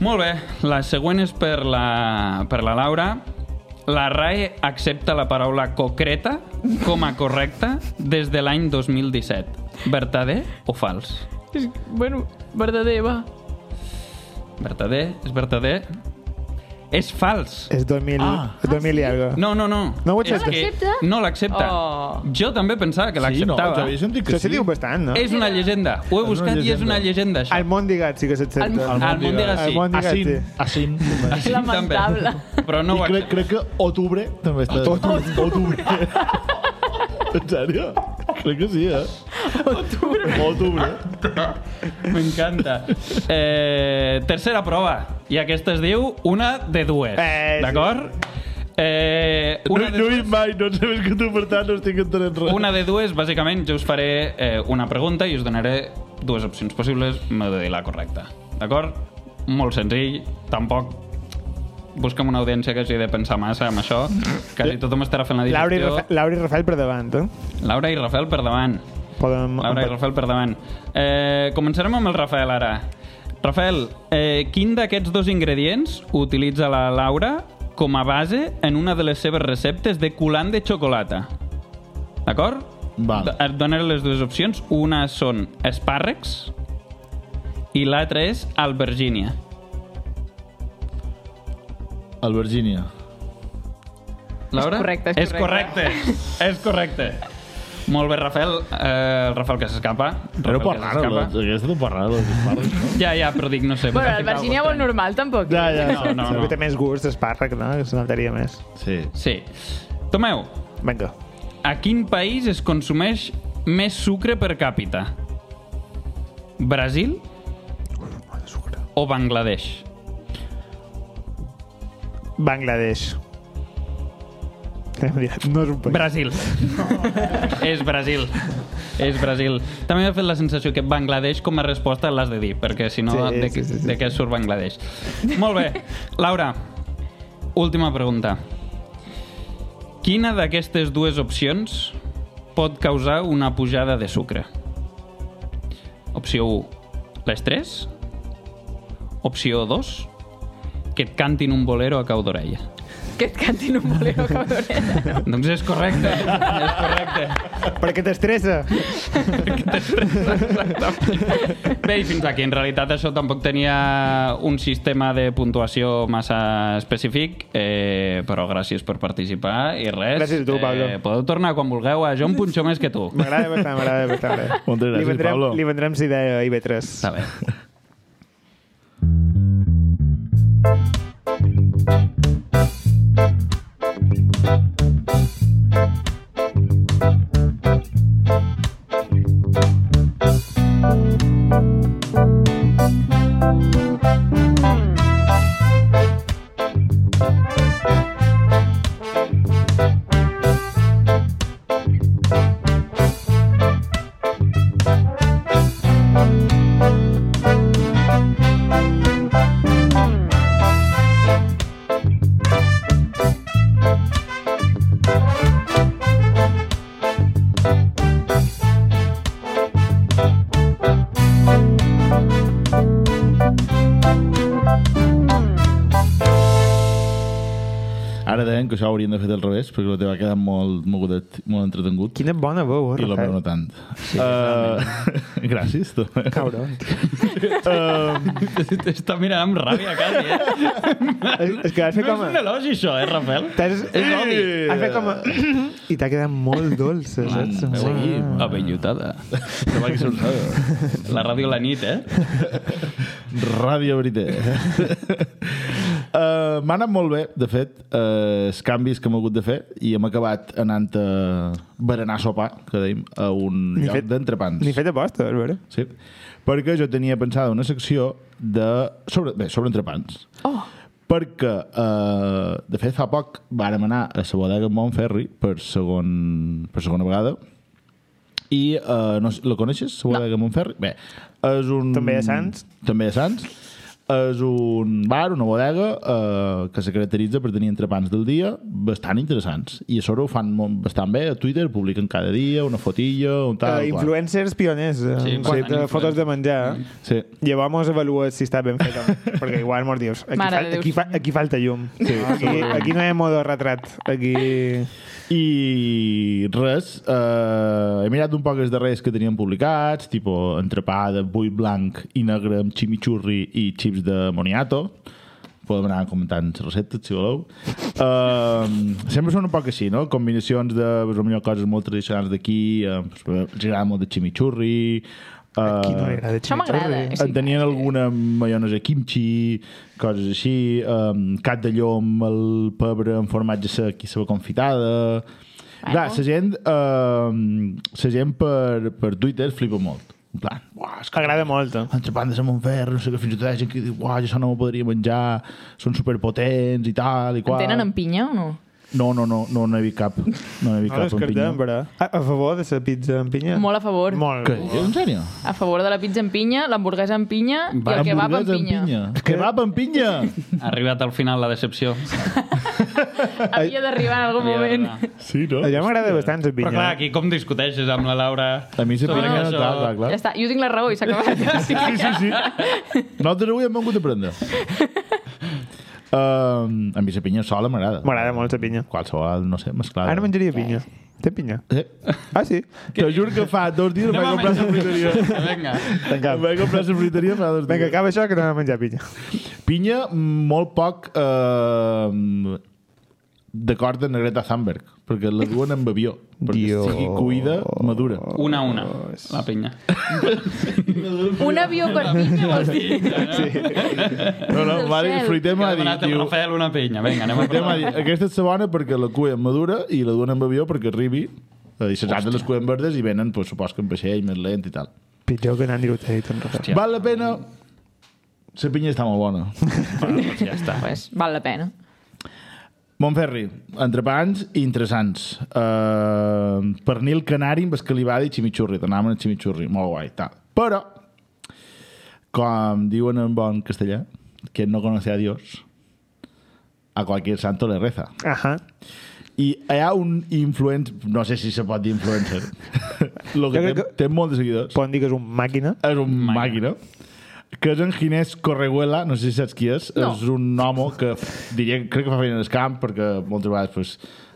Molt bé, la següent és per la, per la Laura. La RAE accepta la paraula concreta com a correcta des de l'any 2017. Verdader o fals? És- Bueno, verdader, va. Verdader, és verdader. És fals. És 2000, Ah. ah, 2000 i algo. No, no, no. No ho És accepta. que No l'accepta? No l'accepta. Oh. Jo també pensava que Sí, no, l'acceptava. t'havia sentit que Això se sí. diu bastant, no? és una llegenda. Ho he És una buscat i és una llegenda, això. Al Mondigat sí que Al- s'accepta. Al món de Al sí. món de Asin, sí. asin. Així Lamentable. També. Però no I ho crec, accepta. crec que Otubre també està... Otubre. Otubre. en sèrio? Crec que sí, eh? Otubre. Otubre. M'encanta. Eh, tercera prova. I aquesta es diu una de dues. Eh, sí. D'acord? Eh, Una una no, de no he vist mai, no en sabés que tu, per tant, no estic entenent res. Una de dues, bàsicament, jo us faré eh, una pregunta i us donaré dues opcions possibles, m'heu de dir la correcta. D'acord? Molt senzill, tampoc busca'm una audiència que hagi de pensar massa amb això. Quasi tothom estarà fent la Laura i, digestió. Rafael, Laura i Rafael per davant, eh? Laura i Rafael per davant. Podem... Laura i Rafael per davant. Eh, començarem amb el Rafael ara. Rafael, eh, quin d'aquests dos ingredients utilitza la Laura com a base en una de les seves receptes de coulant de xocolata? D'acord? Val. D- Et donaré les dues opcions. Una són espàrrecs i l'altra és albergínia. Albergínia. Laura? correcte, és és correcte. És correcte. Molt bé, Rafael. Eh, el Rafael que s'escapa. Era Rafael un poc que raro, s'escapa. lo- aquesta era un poc raro, lo dels espàrrecs, no? Ja, ja, però dic, no sé. Bueno, m'ha el ficat Virginia algo vol estrany. normal, tampoc. Ja, ja. No, no, Segur no. que té més gust, espàrrec, no? Que se notaria més. Sí. Sí. Tomeu, Vinga. a quin país es consumeix més sucre per càpita? Brasil o Bangladesh? Bangladesh. Eh, No és un país. Brasil. és Brasil. És Brasil. També m'ha fet la sensació que Bangladesh com a resposta l'has de dir, perquè si no, Sí, de, sí, sí, sí. de què surt Bangladesh? Molt bé. Laura, última pregunta. Quina d'aquestes dues opcions pot causar una pujada de sucre? Opció 1, l'estrès. Opció 2, que et cantin un bolero a cau d'orella. Que et cantin un bolero cabronet. doncs és correcte, és correcte. Perquè t'estressa. Bé, i fins aquí. En realitat això tampoc tenia un sistema de puntuació massa específic, eh, però gràcies per participar i res. Gràcies a tu, Pablo. Eh, podeu tornar quan vulgueu a Jo em punxo més que tu. M'agrada bastant, m'agrada bastant. eh? Moltes gràcies, li vendrem, Pablo. Ah. Li vendrem la idea a IB3. Està bé. Ara deien que això ho haurien de fer al revés, perquè la teva ha quedat molt mogudet, molt entretengut. Quina bona veu, eh, I la Rafael? meva no tant. Sí, uh, gràcies, tu. Um, Cabron. T'està mirant amb ràbia, quasi, eh? és, és que has fet No com és a... un elogi, això, eh, Rafael? T'has... És odi. Has fet com a... I t'ha quedat molt dolça, saps? Seguim. Avellotada. Sembla que se'n sabe. La ràdio a la nit, eh? Ràdio Brité. Uh, M'ha anat molt bé, de fet, uh, els canvis que hem hagut de fer i hem acabat anant a berenar a sopar, que dèiem, a un Ni lloc fet- d'entrepans. Ni fet apostes, a veure. Sí. Perquè jo tenia pensada una secció de... Sobre, bé, sobre entrepans. Oh, Perquè, eh, de fet, fa poc vàrem anar a la bodega en Montferri per, segon, per segona vegada i eh, no, sé, la coneixes, la bodega no. Montferri? Bé, és un... També a Sants? També a Sants. És un bar, una bodega, eh, que se caracteritza per tenir entrepans del dia bastant interessants. I a sobre ho fan molt- bastant bé, a Twitter publiquen cada dia una fotilla, un Uh, tal... qual. influencers pioners, sí, Sí, Mm. en quant bastant a fotos de menjar. Sí. Llevamos avaluar si està ben fet o no, perquè igual mos dius, aquí, Mare fal, de Déu. aquí, fa, aquí falta llum. Sí, aquí, aquí no hi ha modo retrat. Aquí... I res, eh, he mirat un poc els darrers que tenien publicats, tipo entrepà de bull blanc i negre amb chimichurri i xips de moniato. Podem anar comentant les receptes, si voleu. Uh, sempre són un poc així, no? Combinacions de, pues, potser coses molt tradicionals d'aquí, eh, pues, els agrada molt de chimichurri... Uh, Aquí no era de eh. això m'agrada. chimichurri. Sí, en tenien sí. alguna maionesa kimchi, coses així, um, cat de llom, el pebre en formatge sec i ceba confitada... Bueno. Clar, la gent, um, la gent per, per Twitter flipa molt. En plan, uah, és que Agrada molt. eh? entrepant de Montfer, no sé què, fins i tot hi ha gent que diu, uah, jo això no m'ho podria menjar, són superpotents i tal i En qual. tenen en pinya o no? No, no, no, no n'he vist cap. No n'he vist No cap en pinya. descartem, però... A, a favor de la pizza amb pinya? Molt a favor. Molt. Què? En sèrio? A favor de la pizza en pinya, l'hamburguesa en pinya i el kebab en Hamburguesa pinya. El kebab en pinya! Ha arribat al final la decepció. Havia d'arribar en algun moment. Sí, no? Allà m'agrada bastant la Però pinya. eh. clar, aquí com discuteixes amb la Laura? A mi se sobre pinya, que això- clar, Ah, clar, clar. Ja està, jo tinc la raó i s'ha acabat. Sí, sí, sí, sí. Nosaltres avui hem vingut a aprendre. Um, a mi la pinya sola m'agrada. M'agrada molt la pinya. Qualsevol, no sé, mesclada. Ara menjaria pinya. Té pinya? Eh? Ah, sí? Te juro que fa dos dies em vaig Anem a comprar menjar la fruiteria. Vinga. Em vaig comprar la fruiteria fa dos dies. Vinga, acaba això que anem a menjar pinya. Pinya molt poc eh, d'acord amb Greta Thunberg, perquè la duen amb avió. Perquè Dios. sigui cuida, madura. Una a una, la pinya. Un avió per pinya vols dir? No, no, Del va dir, cel. Fruiter Que m'ha ha dit, demanat el diu, Rafael una pinya. Vinga, anem Anem a a provar. dir, aquesta és la bona perquè la cua madura i la duen amb avió perquè arribi eh, i se salten les cuen verdes i venen, pues, supos que en vaixell més lent i tal. Pitjor que anar a dir-ho a Ja. Val la pena? La pinya està molt bona. Ja està. Pues, val la pena. Montferri, entrepans i interessants. Uh, pernil canari amb escalivada i ximichurri. T'anàvem amb el ximichurri, molt guai, tal. Però, com diuen en bon castellà, quien no conoce a Dios, a cualquier santo le reza. Ahà. I hi ha un influent... No sé si se pot dir influencer. Lo Jo que té, crec que... que- té molts seguidors. Poden dir que és un màquina. És un Màquina. màquina. Que és en Ginés Correguela, no sé si saps qui és. No. És un home que f- diria, que crec que fa feina en el camp, perquè moltes vegades pues,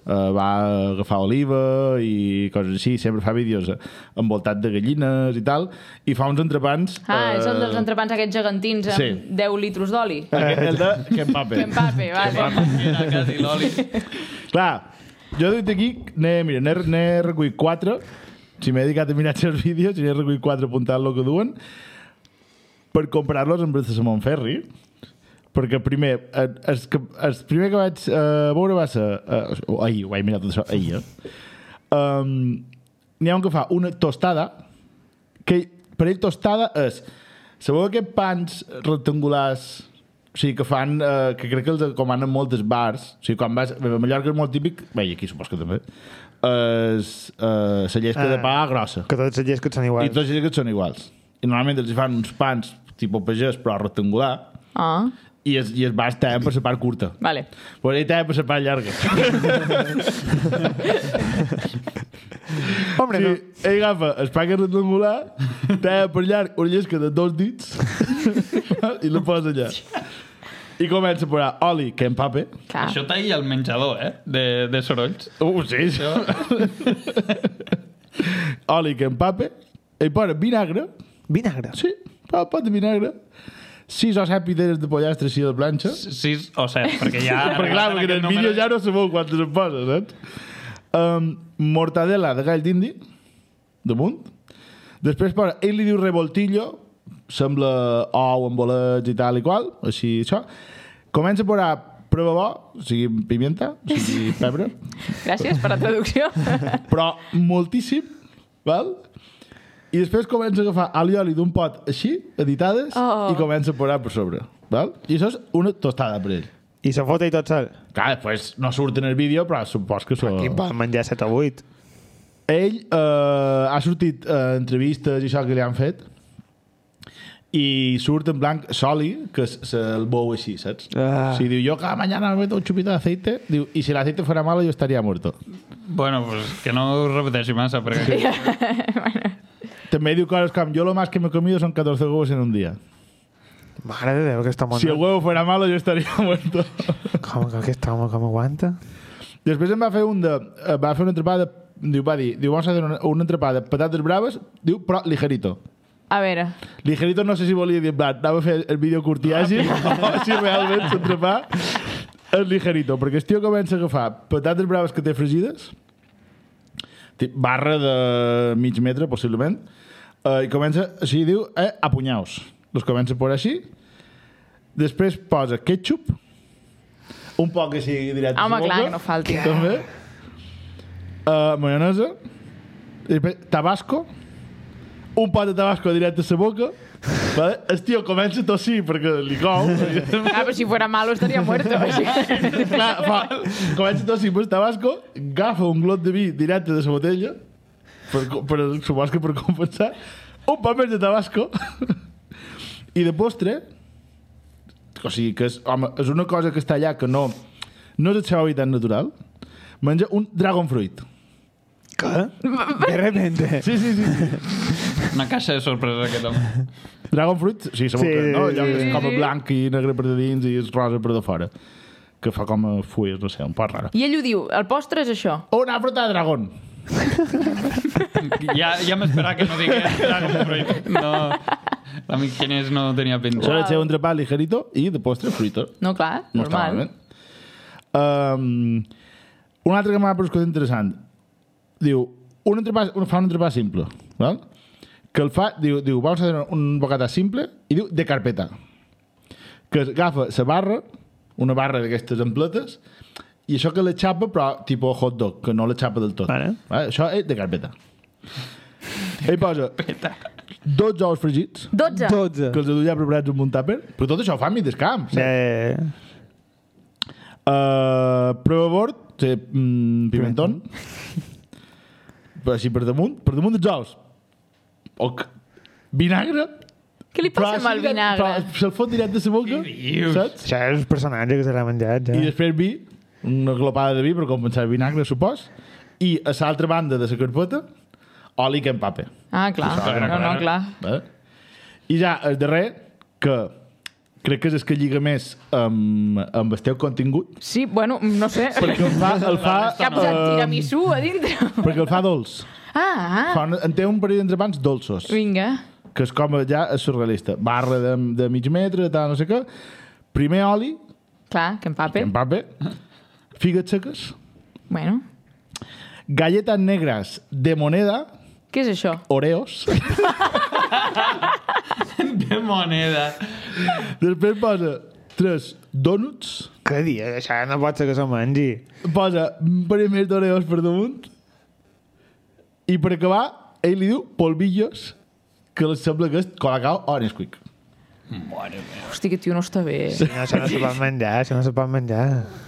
eh, va a agafar oliva i coses així. Sempre fa vídeos eh, envoltat de gallines i tal. I fa uns entrepans... Ah, és el eh, dels entrepans aquests gegantins amb sí. 10 litros d'oli. Aquest, el de Kempape. Empape, vale. Mira, quasi l'oli. Clar, jo des d'aquí n'he mira, n'he- n'he recollit quatre. Si m'he dedicat a mirar els vídeos, n'he recollit quatre apuntant el que duen per comprar-los amb Bressa Montferri. Perquè primer, eh, el, que, el primer que vaig eh, veure va ser... Eh, oh, ahir, ho vaig mirar tot això, ahir, eh? Um, N'hi ha un que fa una tostada, que per ell tostada és... Sabeu aquests pans rectangulars o sigui, que fan, eh, que crec que els comanen moltes bars. O sigui, quan vas... bé, A Mallorca és molt típic... Bé, i aquí supos que també. És eh, la llesca Ah. de pa grossa. Que totes les lleis que et són I iguals. tots els llesques són iguals. I normalment els hi fan uns pans tipus pagès, però rectangular, Ah, i es, i es va estar per la part curta. vale. Pues ell té per la part llarga. Hombre, Sí, no. ell agafa el pa que és rectangular, té per llarg una llesca de dos dits i la posa allà. I comença a posar oli, que empape. Clar. Això talla el menjador, eh? De, de sorolls. Uh, sí, això. oli, que empape. Ell posa vinagre, Vinagre. sí, pa, pa de vinagre, sis o set pideres de pollastre així de planxa. Sis o set, perquè ja... Però clar, perquè en el vídeo ja no sabeu quantes en posa, saps? Um, mortadela de gall d'indi, damunt. Després, para, ell li diu revoltillo, sembla ou amb bolets i tal i qual, així això. Comença a posar prova bo, o sigui, pimienta, o sigui, pebre, Gràcies per la traducció. però moltíssim, val? I després comença a agafar alioli d'un pot així, editades, Oh. i comença a posar per sobre, val? I això és una tostada per ell. I se fota i tot sol. Clar, després no surt en el vídeo, però supos que això... I poden menjar 7 o 8. Ell eh, ha sortit eh, entrevistes i això que li han fet i surt en blanc soli, que s- se'l bou així, saps? Ah. O sigui, diu, jo cada mañana me meto un chupito de aceite, diu, i si el aceite fuera malo yo estaría muerto. Bueno, pues que no ho repeteixi massa, perquè... També diu coses com, yo lo más que me he comido son 14 huevos en un día. Mare de Déu, aquest home... Si el no. huevo fuera malo yo estaría muerto. Com que aquest home com aguanta? Després em va fer un de... eh, Va fer una entrepada... Diu, va dir, diu, vamos a hacer una, una entrepada de patates braves, diu, però ligerito. A veure, Ligerito no sé si volia dir, en plan, anava a fer el vídeo curt i àgil, o si realment s'entrepà el ligerito, perquè el tio comença a agafar patates braves que té fregides, té barra de mig metre, possiblement, eh, i comença, així diu, eh, a punyaus. Los comença a posar així, després posa ketchup, un poc que sigui directe a Home, la boca, clar, que no falti. També. Uh, maionesa, i després tabasco, un pot de tabasco directe a la boca, vale? el tio comença a tossir perquè li cou, ah, però si fuera malo estaria muerto. Així. que- Clar, fa, comença tot si pues tabasco, agafa un glot de vi directe de la botella, per, co- per, supos que per compensar, un pa més de tabasco, i de postre, o sigui que és, home, és una cosa que està allà que no, no és el seu hàbitat natural, menja un dragon fruit. Què? De repente. Sí, sí, sí. Una caixa de sorpresa, aquest home. Dragon fruit, sí, segur Sí, sí, que no, sí, allò que sí, és com a sí. blanc i negre per de dins i és rosa per de fora, que fa com a fulles, no sé, un pot rara. I ell ho diu, el postre és això. Una fruta de dragón. Ja, ja m'esperava que no digués Dragon Fruit. No, l'amic Quinès no tenia Això penjat. era el seu entrepà ligerito i de postre fruita. No, clar, No està normal. malament. Um, un altre que m'ha paregut interessant. Diu, un entrepà, un, fa un entrepà simple, val? que el fa, diu, diu vamos a fer un bocata simple, i diu, de carpeta. Que es agafa la barra, una barra d'aquestes ampletes, i això que la xapa, però tipus hot dog, que no la xapa del tot. Vale. Vale? Això és de carpeta. Ell posa 12 ous fregits, 12. 12. que els duia preparats amb un tàper. Però tot això ho fa a mig descamp. Ja, ja, Yeah. ja. Uh, prova bord, sí, mm, pimentón. Però Així per damunt, per damunt dels ous. O c- vinagre. Què li passa amb el així, vinagre? Però se'l fot directe a la boca, Què dius? saps? Això és el personatge que se l'ha menjat, I ja. després vi, una glopada de vi per compensar el vinagre, supos, i a l'altra banda de la carpeta, oli que empape. Ah, clar. clar, No, clar. no, clar. Eh? I ja el darrer, que crec que és el que lliga més amb, amb el teu contingut, Sí, bueno, no sé. perquè el fa... El fa Que ha posat eh, tiramisú a dintre. perquè el fa dolç. Ah, ah. Fa un, en té un parell d'entrepans dolços. Vinga. que és com ja és surrealista. Barra de, de mig metre, tal, no sé què. Primer oli, Clar, que empape. en paper, figues seques, Bueno. galletes negres de moneda, Què és això? oreos, De moneda. després posa tres donuts, Què dies? Això no pot ser que se mengi. posa un parell més d'oreos per damunt, i per acabar, ell li diu polvillos, que li sembla que és colacao o Nesquik. Hosti, que tio no està bé. No, això no se pot menjar, això no se pot menjar.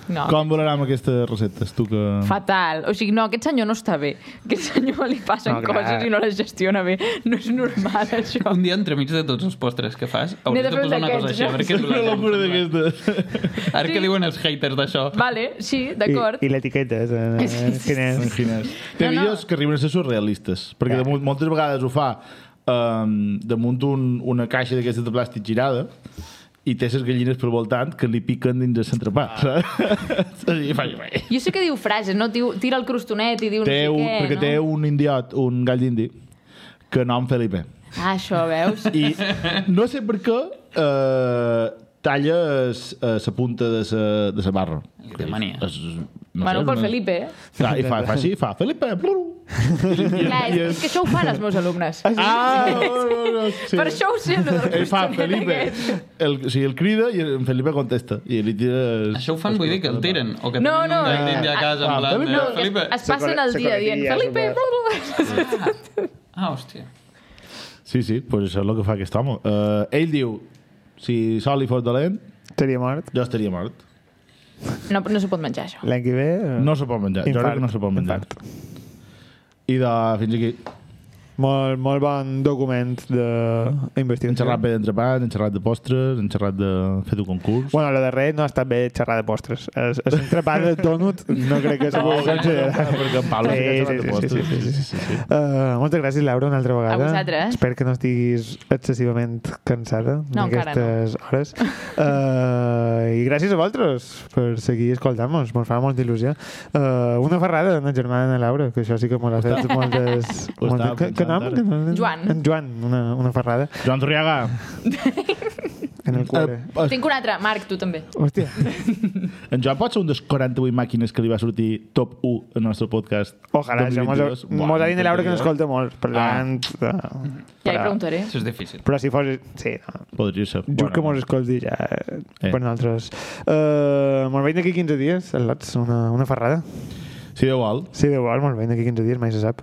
No, Com valorem aquestes receptes, tu que... fatal. O sigui, no, aquest senyor no està bé. Aquest senyor li passen No, no, clar. coses i no les gestiona bé. No és normal, això. Un dia entremig de tots els postres que fas N'he hauries de de fer posar una cosa d'aquests, així. A veure què diu la Una gent. locura d'aquestes. Ara Sí. què diuen els haters d'això? Vale, sí, I, d'acord. i l'etiqueta, eh, quina és? Imagines. Té No, no. vídeos que arriben a ser surrealistes, perquè de, moltes vegades ho fa um, damunt un, una caixa d'aquestes de plàstic girada i té les gallines pel voltant que li piquen dins el centrepà. Ah. saps? I fa... Jo sé que diu frases, no? Diu, tira el crostonet i diu Té no un, sé què, perquè eh, no? té un indiot, un gall d'indi, que nom Felipe. Ah, això, veus? I no sé per què eh, talla la punta de la de sa barra. Li té mania. És- no bueno, sé, pel una- Felipe, eh? Clar, I fa, fa així, fa Felipe. Clar, és, és que això ho fan els meus alumnes. Ah, no, no, no, sí. Per això ho sé, no del Ell fa, crostonet Felipe. aquest. El, o sigui, el crida i en Felipe contesta. I li tira... el- Això ho fan, vull dir, que el tiren. O que No, tenen no, un gall eh, d'indi a ah, casa. ah, en plan, no, eh, Felipe... Es passen Se el dia coneixia, dient super. Felipe... Bla, bla, bla. Ah, hòstia. Sí, sí, pues això és el que fa aquest home. Uh, ell diu, si sol li fos dolent, Estaria mort. jo estaria mort. No, no s'ho pot menjar, això. L'any que ve... eh, No se pot menjar. Jo crec que no se pot menjar. infart. I de, fins aquí, Molt, molt bon document hem d'investigació. xerrat bé d'entrepans, hem xerrat de postres, hem xerrat de fer un concurs. Bueno, lo darrer no ha estat bé xerrar de postres. Es, es entrepà de donut no crec que s'ho pugui considerar. perquè en Pablo sí que ha Sí, xerrat sí, de sí, postres. sí, sí, sí, sí, sí. Uh, moltes gràcies, Laura, una altra vegada. A vosaltres. Espero que no estiguis excessivament cansada en No, encara aquestes no. hores. Uh, I gràcies a vosaltres per seguir escoltant-nos. Mos fa molta il·lusió. Uh, una ferrada en la germana de Laura, que això sí que mos ha fet moltes... Ho moltes que, que estava nom? pensant Que nom? Joan. En Joan, una, una ferrada Joan Torriaga, en el cuore. eh, es- Tinc un altre. Marc, tu també. Hòstia. En Joan pot ser un dels 48 màquines que li va sortir top 1 al nostre podcast. Ojalà, això mos, ha- 2022. Buah, mos ha dit Laura que m'encantaria. n'escolta molt, per Ah. tant... Ah. Ja hi preguntaré. Això és difícil. Però si fos... Sí, no. Podria ser. Jo bueno. que mos escolti ja eh. Eh. per nosaltres. Uh, mos veiem d'aquí 15 dies, el Lots, una, una ferrada. Si Déu vol. Si Déu vol, mos veiem d'aquí 15 dies, mai se sap.